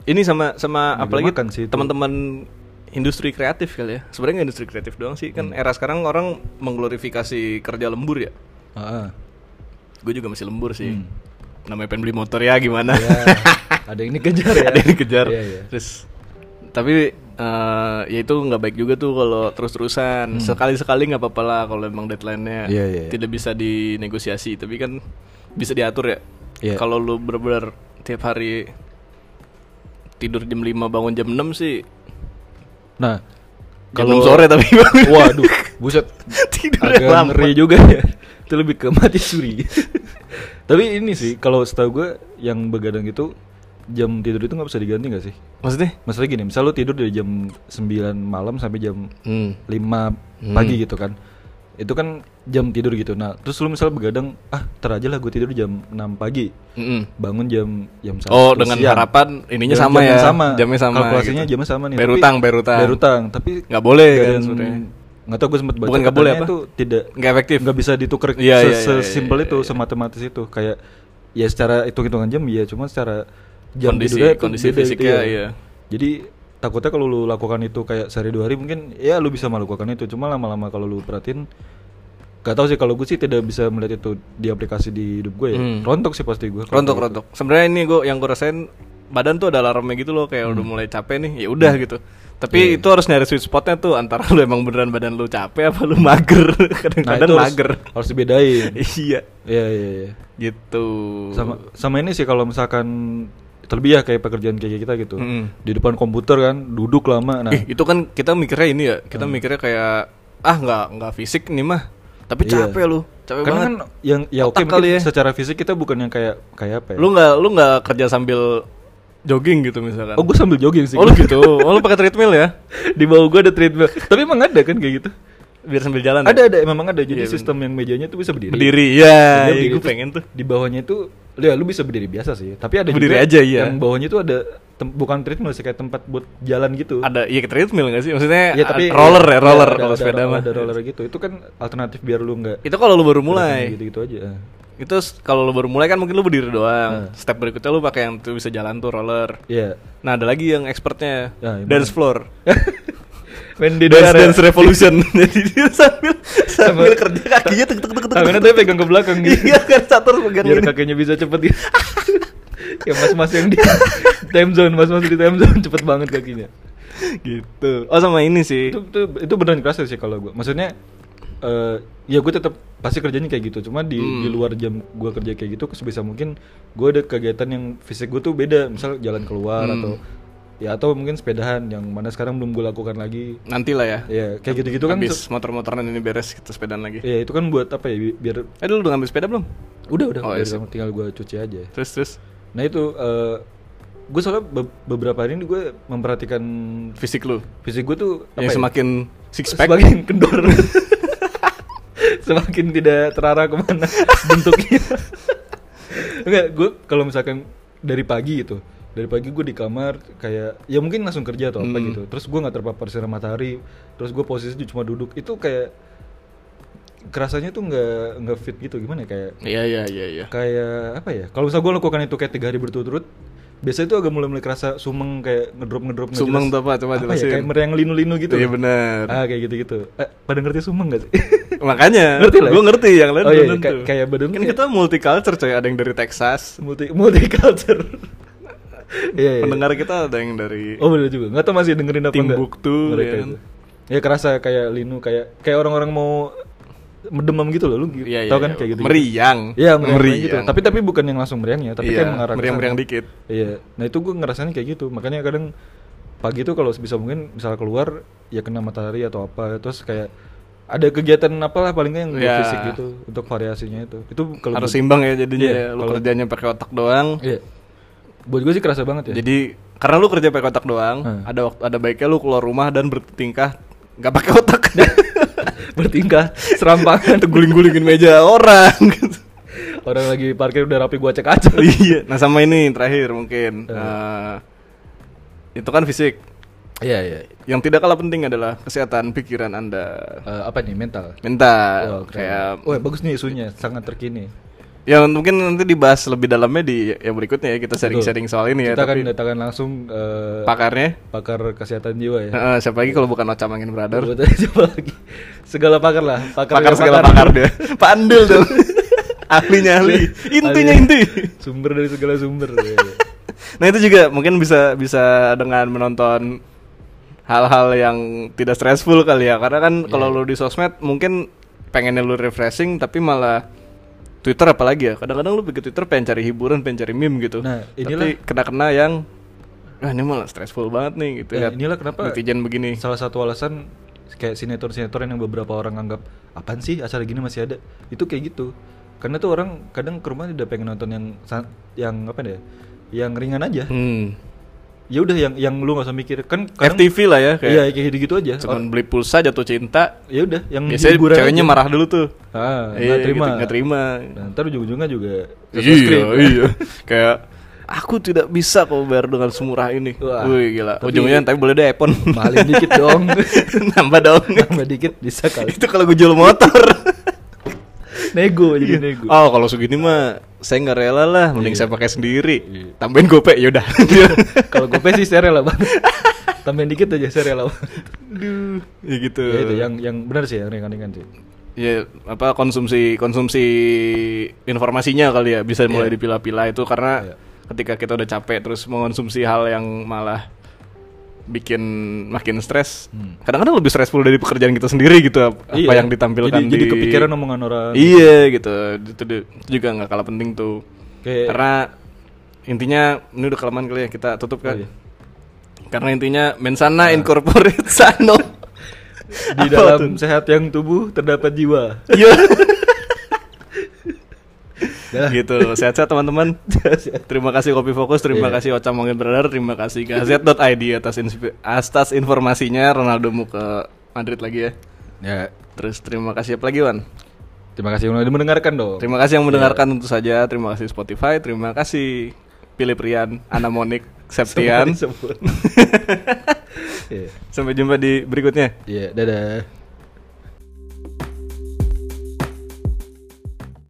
Speaker 1: Ini sama sama
Speaker 2: Juga
Speaker 1: apalagi
Speaker 2: makan Iya, sih itu.
Speaker 1: teman-teman industri kreatif kali ya. Sebenarnya nggak industri kreatif doang sih. Kan
Speaker 2: Hmm.
Speaker 1: era sekarang orang mengglorifikasi kerja lembur ya.
Speaker 2: Heeh.
Speaker 1: Gue juga masih lembur sih.
Speaker 2: Hmm.
Speaker 1: Namanya pengen beli motor ya gimana?
Speaker 2: Ya, ada yang
Speaker 1: <laughs>
Speaker 2: dikejar ya.
Speaker 1: ada yang dikejar.
Speaker 2: Iya, iya.
Speaker 1: Terus tapi eh, ya itu nggak baik juga tuh kalau terus-terusan. Sekali-sekali nggak apa-apa lah kalau emang deadline-nya
Speaker 2: Hmm. Iya, iya, iya.
Speaker 1: tidak bisa dinegosiasi, tapi kan bisa diatur ya.
Speaker 2: Iya.
Speaker 1: Kalau lu bener-bener tiap hari tidur jam 5 bangun jam 6 sih.
Speaker 2: Nah,
Speaker 1: Jam 6 sore tapi <laughs> bangun.
Speaker 2: Waduh, buset.
Speaker 1: Tidurnya
Speaker 2: Agak
Speaker 1: lama.
Speaker 2: ngeri juga ya. Itu lebih ke mati
Speaker 1: <laughs>
Speaker 2: suri. Tapi ini sih kalau setahu gue yang begadang itu jam tidur itu nggak bisa diganti nggak sih?
Speaker 1: Maksudnya?
Speaker 2: Maksudnya gini, misal lu tidur dari jam 9 malam sampai jam 5
Speaker 1: Hmm.
Speaker 2: pagi gitu kan. Itu kan jam tidur gitu. Nah, terus lu misal begadang, ah, ntar aja lah gue tidur jam 6 pagi.
Speaker 1: Mm-mm.
Speaker 2: Bangun jam jam satu
Speaker 1: Oh, dengan
Speaker 2: siang.
Speaker 1: harapan ininya
Speaker 2: Jam-
Speaker 1: sama
Speaker 2: jamnya
Speaker 1: ya.
Speaker 2: Sama.
Speaker 1: Jamnya sama
Speaker 2: Kalkulasinya
Speaker 1: gitu.
Speaker 2: jamnya sama nih.
Speaker 1: Bayar
Speaker 2: tapi-
Speaker 1: utang, bayar utang.
Speaker 2: bayar utang, tapi
Speaker 1: Nggak boleh
Speaker 2: nggak
Speaker 1: kan
Speaker 2: ada yang-
Speaker 1: sebenarnya.
Speaker 2: Nggak tahu gue sempat baca
Speaker 1: Bukan nggak boleh
Speaker 2: katanya
Speaker 1: apa?
Speaker 2: itu tidak
Speaker 1: Nggak efektif.
Speaker 2: nggak bisa ditukar
Speaker 1: Iya,
Speaker 2: se-
Speaker 1: iya, iya,
Speaker 2: sesimpel
Speaker 1: iya,
Speaker 2: itu
Speaker 1: iya.
Speaker 2: sematatis itu kayak ya secara hitung hitungan jam ya cuma secara jam
Speaker 1: Kondisi-
Speaker 2: tidurnya itu
Speaker 1: kondisi
Speaker 2: beda gitu
Speaker 1: fisiknya, iya.
Speaker 2: jadi takutnya kalau lu lakukan itu kayak sehari dua hari mungkin ya lu bisa melakukan itu cuma lama-lama kalau lu perhatiin Gak tau sih kalau gue sih tidak bisa melihat itu di aplikasi di hidup gue ya
Speaker 1: Hmm.
Speaker 2: rontok sih pasti gue
Speaker 1: Rontok rontok. Sebenarnya ini gue yang gue rasain badan tuh ada alarmnya gitu loh kayak
Speaker 2: Hmm.
Speaker 1: udah mulai capek nih. Ya udah gitu.
Speaker 2: Iya,
Speaker 1: Tapi itu harus nyari sweet spotnya tuh antara lu emang beneran badan lu capek apa lu mager. <laughs> Kadang-kadang
Speaker 2: Nah, itu harus-
Speaker 1: mager. <laughs>
Speaker 2: harus dibedain
Speaker 1: iya.
Speaker 2: iya iya iya
Speaker 1: Gitu.
Speaker 2: sama sama ini sih kalau misalkan terlebih ya kayak pekerjaan kayak kita gitu
Speaker 1: Mm-mm.
Speaker 2: di depan komputer kan duduk lama nah Hmm.
Speaker 1: Ih, itu kan kita mikirnya ini ya. Kita mikirnya kayak ah nggak nggak fisik nih mah. Tapi
Speaker 2: Iya.
Speaker 1: capek lu. Capek
Speaker 2: karena
Speaker 1: banget.
Speaker 2: kan yang ya oke
Speaker 1: Otak
Speaker 2: mungkin
Speaker 1: kali ya.
Speaker 2: secara fisik kita bukan yang kayak kayak apa ya
Speaker 1: Lu nggak lu nggak kerja sambil jogging gitu misalkan.
Speaker 2: oh gue sambil jogging sih
Speaker 1: Oh, lu gitu. Oh lu pakai treadmill
Speaker 2: <laughs>
Speaker 1: ya?
Speaker 2: di bawah gue ada treadmill <laughs> tapi emang ada kan kayak gitu
Speaker 1: Biar sambil jalan.
Speaker 2: ada
Speaker 1: ya?
Speaker 2: ada memang ada jadi
Speaker 1: Iya,
Speaker 2: sistem yang mejanya tuh bisa berdiri
Speaker 1: Berdiri. Ya, ya
Speaker 2: Dia Iya. berdiri,
Speaker 1: gue
Speaker 2: terus
Speaker 1: pengen tuh.
Speaker 2: di bawahnya itu ya lu bisa berdiri biasa sih tapi ada
Speaker 1: Berdiri
Speaker 2: juga
Speaker 1: aja, iya.
Speaker 2: yang bawahnya tuh ada tem- bukan treadmill sih kayak tempat buat jalan gitu
Speaker 1: ada iya treadmill nggak sih maksudnya
Speaker 2: Iya, tapi
Speaker 1: ad- roller ya
Speaker 2: iya,
Speaker 1: roller
Speaker 2: ada-
Speaker 1: kalau
Speaker 2: ada-
Speaker 1: sepeda mah
Speaker 2: ada roller gitu itu kan alternatif biar lu nggak
Speaker 1: itu kalau lu baru mulai
Speaker 2: gitu gitu aja
Speaker 1: itu s- kalau lu baru mulai kan mungkin lu berdiri doang
Speaker 2: Hmm.
Speaker 1: step berikutnya lu pakai yang tuh bisa jalan tuh roller
Speaker 2: Iya
Speaker 1: nah ada lagi yang expertnya
Speaker 2: Ya, gimana?
Speaker 1: dance floor
Speaker 2: main di
Speaker 1: dance
Speaker 2: daerah
Speaker 1: dance revolution <laughs> jadi dia sambil sambil
Speaker 2: Sama-
Speaker 1: kerja kakinya tek tek tek tek
Speaker 2: tangannya tuh Ah, pegang ke belakang gitu
Speaker 1: iya kan satu harus pegang
Speaker 2: biar
Speaker 1: ini
Speaker 2: kakinya bisa cepet gitu <laughs> ya mas-mas yang di <laughs> time zone mas-mas di time zone cepet banget kakinya
Speaker 1: gitu oh sama ini sih
Speaker 2: itu itu, itu beneran kerasa sih kalau gue maksudnya eh, ya gue tetap pasti kerjanya kayak gitu cuma di
Speaker 1: Hmm.
Speaker 2: di luar jam gue kerja kayak gitu sebisa mungkin gue ada kegiatan yang fisik gue tuh beda misal jalan keluar
Speaker 1: Hmm.
Speaker 2: atau ya atau mungkin sepedahan yang mana sekarang belum gue lakukan lagi
Speaker 1: nanti lah ya
Speaker 2: ya kayak gitu-gitu kan
Speaker 1: habis motor-motoran ini beres kita sepedaan lagi
Speaker 2: ya itu kan buat apa ya bi- biar
Speaker 1: eh lu udah ngambil sepeda belum
Speaker 2: udah udah
Speaker 1: Oh,
Speaker 2: udah,
Speaker 1: iya sih.
Speaker 2: tinggal gue cuci aja
Speaker 1: terus terus
Speaker 2: nah itu gue soalnya be- beberapa hari ini gue memperhatikan
Speaker 1: fisik lu
Speaker 2: fisik gue tuh apa
Speaker 1: yang
Speaker 2: ya?
Speaker 1: semakin six pack
Speaker 2: semakin kendor <laughs> semakin tidak terarah kemana bentuknya enggak gue kalau misalkan dari pagi gitu dari pagi gue di kamar kayak ya mungkin langsung kerja atau apa
Speaker 1: Hmm.
Speaker 2: gitu terus gue nggak terpapar sinar matahari terus gue posisinya cuma duduk itu kayak kerasanya tuh nggak nggak fit gitu gimana ya, kayak
Speaker 1: iya iya iya iya
Speaker 2: kayak apa ya kalau misal gue lakukan itu kayak tiga hari berturut-turut biasanya itu agak mulai mulai kerasa sumeng kayak ngedrop ngedrop nggak
Speaker 1: Sumeng
Speaker 2: jelas.
Speaker 1: tuh apa? Coba
Speaker 2: ya,
Speaker 1: jelasin.
Speaker 2: kayak meriang linu-linu gitu
Speaker 1: Iya
Speaker 2: <laughs>
Speaker 1: benar.
Speaker 2: ah kayak gitu gitu eh, pada ngerti sumeng gak sih <laughs>
Speaker 1: Makanya
Speaker 2: Ngerti lah ya?
Speaker 1: Gue ngerti yang lain
Speaker 2: Oh, iya,
Speaker 1: belum
Speaker 2: iya, kayak-
Speaker 1: tentu.
Speaker 2: kayak badan
Speaker 1: Kan
Speaker 2: kayak-
Speaker 1: kita multicultural coy, ada yang dari Texas.
Speaker 2: multi
Speaker 1: <laughs>
Speaker 2: multicultural iya iya
Speaker 1: Pendengar kita ada yang dari
Speaker 2: oh bener juga nggak tau masih dengerin apa enggak
Speaker 1: Timbuktu,
Speaker 2: mereka
Speaker 1: ya
Speaker 2: itu. ya kerasa kayak linu kayak kayak orang-orang mau demam gitu loh lu gi-
Speaker 1: Iya, iya,
Speaker 2: tau kan
Speaker 1: iya.
Speaker 2: kayak gitu
Speaker 1: Meriang.
Speaker 2: iya meriang, gitu
Speaker 1: Meriang.
Speaker 2: tapi tapi bukan yang langsung meriang ya tapi
Speaker 1: Iya,
Speaker 2: kayak mengarah ke
Speaker 1: meriang-meriang
Speaker 2: sana.
Speaker 1: dikit.
Speaker 2: iya nah itu gue ngerasain kayak gitu makanya kadang pagi tuh kalau sebisa mungkin misal keluar ya kena matahari atau apa terus kayak ada kegiatan apalah paling nggak yang buat
Speaker 1: Iya.
Speaker 2: fisik gitu untuk variasinya itu itu kalau
Speaker 1: Harus
Speaker 2: buat-
Speaker 1: seimbang ya jadinya
Speaker 2: Iya,
Speaker 1: ya. Lu
Speaker 2: kalau-
Speaker 1: kerjanya pakai otak doang.
Speaker 2: iya buat gue sih kerasa banget ya <laughs>
Speaker 1: Jadi karena lu kerja pakai otak doang,
Speaker 2: Hmm.
Speaker 1: ada waktu ada baiknya lu keluar rumah dan bertingkah nggak pakai
Speaker 2: <laughs>
Speaker 1: otak.
Speaker 2: bertingkah serampangan
Speaker 1: <laughs> Itu guling-gulingin meja orang <laughs> gitu.
Speaker 2: orang lagi parkir udah rapi gua cek aja
Speaker 1: iya. Nah, sama ini terakhir mungkin. Eh, itu kan fisik.
Speaker 2: iya iya
Speaker 1: Yang tidak kalah penting adalah kesehatan pikiran Anda.
Speaker 2: Eh, apa nih mental
Speaker 1: Mental
Speaker 2: Wah, Oh, keren.
Speaker 1: Eh, kayak
Speaker 2: Wah, bagus nih isunya sangat terkini
Speaker 1: Ya mungkin nanti dibahas lebih dalamnya di yang berikutnya ya kita sharing-sharing soal ini ya.
Speaker 2: Gitu. kita akan
Speaker 1: Tapi
Speaker 2: datangkan langsung eh,
Speaker 1: pakarnya
Speaker 2: pakar kesehatan jiwa ya
Speaker 1: eh, siapa lagi kalau bukan Ocamangin Brother?
Speaker 2: Buat- coba lagi segala pakar lah Iya. pakar, Iya.
Speaker 1: Pakar
Speaker 2: yang
Speaker 1: segala pakar dia. Pak Andil
Speaker 2: <laughs>
Speaker 1: dong. Ahlinya ahli. Intinya
Speaker 2: Ahli.
Speaker 1: inti.
Speaker 2: sumber dari segala
Speaker 1: <laughs>
Speaker 2: sumber Iya, iya.
Speaker 1: Nah itu juga mungkin bisa bisa dengan menonton hal-hal yang tidak stressful kali ya karena
Speaker 2: Iya.
Speaker 1: kan kalau lu di sosmed mungkin pengennya lu refreshing tapi malah Twitter apalagi ya kadang-kadang lu bikin Twitter pengen cari hiburan pengen cari meme gitu
Speaker 2: Nah,
Speaker 1: tapi
Speaker 2: inilah-
Speaker 1: kena-kena yang ah ini malah stressful banget nih gitu
Speaker 2: Nah,
Speaker 1: lihat
Speaker 2: inilah kenapa-
Speaker 1: netizen begini
Speaker 2: salah satu alasan kayak sinetron-sinetron yang beberapa orang anggap apaan sih acara gini masih ada itu kayak gitu karena tuh orang kadang ke rumah udah pengen nonton yang sa- yang apa deh yang ringan aja
Speaker 1: hmm.
Speaker 2: ya udah yang yang lu nggak usah mikir kan kadang
Speaker 1: FTV lah ya kayak
Speaker 2: iya kayak gitu gitu aja
Speaker 1: cuman beli pulsa jatuh cinta
Speaker 2: ya udah yang
Speaker 1: biasanya
Speaker 2: hiburan
Speaker 1: ceweknya
Speaker 2: aja.
Speaker 1: marah dulu tuh
Speaker 2: ah
Speaker 1: Iya,
Speaker 2: nggak terima
Speaker 1: gitu, nggak terima
Speaker 2: nah, ntar ujung-ujungnya juga
Speaker 1: Iya, iya. <laughs> Kayak aku tidak bisa kau bayar dengan semurah ini.
Speaker 2: Wah.
Speaker 1: Wih, gila.
Speaker 2: Tapi-
Speaker 1: Ujungnya tapi boleh deh iPhone. <laughs>
Speaker 2: mahalin dikit dong
Speaker 1: Nambah dong.
Speaker 2: nambah dikit bisa
Speaker 1: <laughs>
Speaker 2: kali
Speaker 1: Itu kalau gue jual motor.
Speaker 2: nego jadi nego
Speaker 1: oh, kalau segini mah saya nggak rela lah, mending saya pakai sendiri.
Speaker 2: Iya.
Speaker 1: Tambahin ya GoPay,
Speaker 2: <laughs>
Speaker 1: yaudah.
Speaker 2: kalau gue sih saya rela banget tambahin dikit aja saya rela banget
Speaker 1: Aduh, ya gitu.
Speaker 2: ya itu yang yang benar sih yang ringan-ringan sih
Speaker 1: Ya, apa konsumsi konsumsi informasinya kali ya bisa mulai dipilah-pilah itu karena
Speaker 2: Iya.
Speaker 1: ketika kita udah capek terus mengonsumsi hal yang malah bikin makin stres.
Speaker 2: Hmm.
Speaker 1: Kadang-kadang lebih stressful dari pekerjaan kita sendiri gitu ap- apa
Speaker 2: Iya.
Speaker 1: yang ditampilkan
Speaker 2: jadi,
Speaker 1: di
Speaker 2: jadi kepikiran omongan orang
Speaker 1: Iya gitu. Itu, di- itu juga nggak kalah penting tuh.
Speaker 2: Kayak-
Speaker 1: Karena intinya ini udah kelamaan kali ya kita tutup kan. <laughs>
Speaker 2: Oh, iya. Ah.
Speaker 1: Karena intinya mensana incorporate <laughs> sano. Apa
Speaker 2: di dalam
Speaker 1: tuh?
Speaker 2: sehat yang tubuh terdapat jiwa
Speaker 1: Iya.
Speaker 2: Dah.
Speaker 1: gitu. Sehat-sehat teman-teman. terima kasih Kopi Fokus, terima
Speaker 2: Iya.
Speaker 1: kasih Oca Mongin Brother, terima kasih KZ.id atas inspi- atas informasinya Ronaldo mau ke Madrid lagi ya.
Speaker 2: ya
Speaker 1: Terus terima kasih apa lagi Wan?
Speaker 2: terima kasih udah mendengarkan dong
Speaker 1: Terima kasih yang mendengarkan tentu saja. Terima kasih Spotify, terima kasih Pilih Prian, Ana Monik, Septian.
Speaker 2: Semua disebut. <laughs> Iya.
Speaker 1: Sampai jumpa di berikutnya.
Speaker 2: Iya, dadah.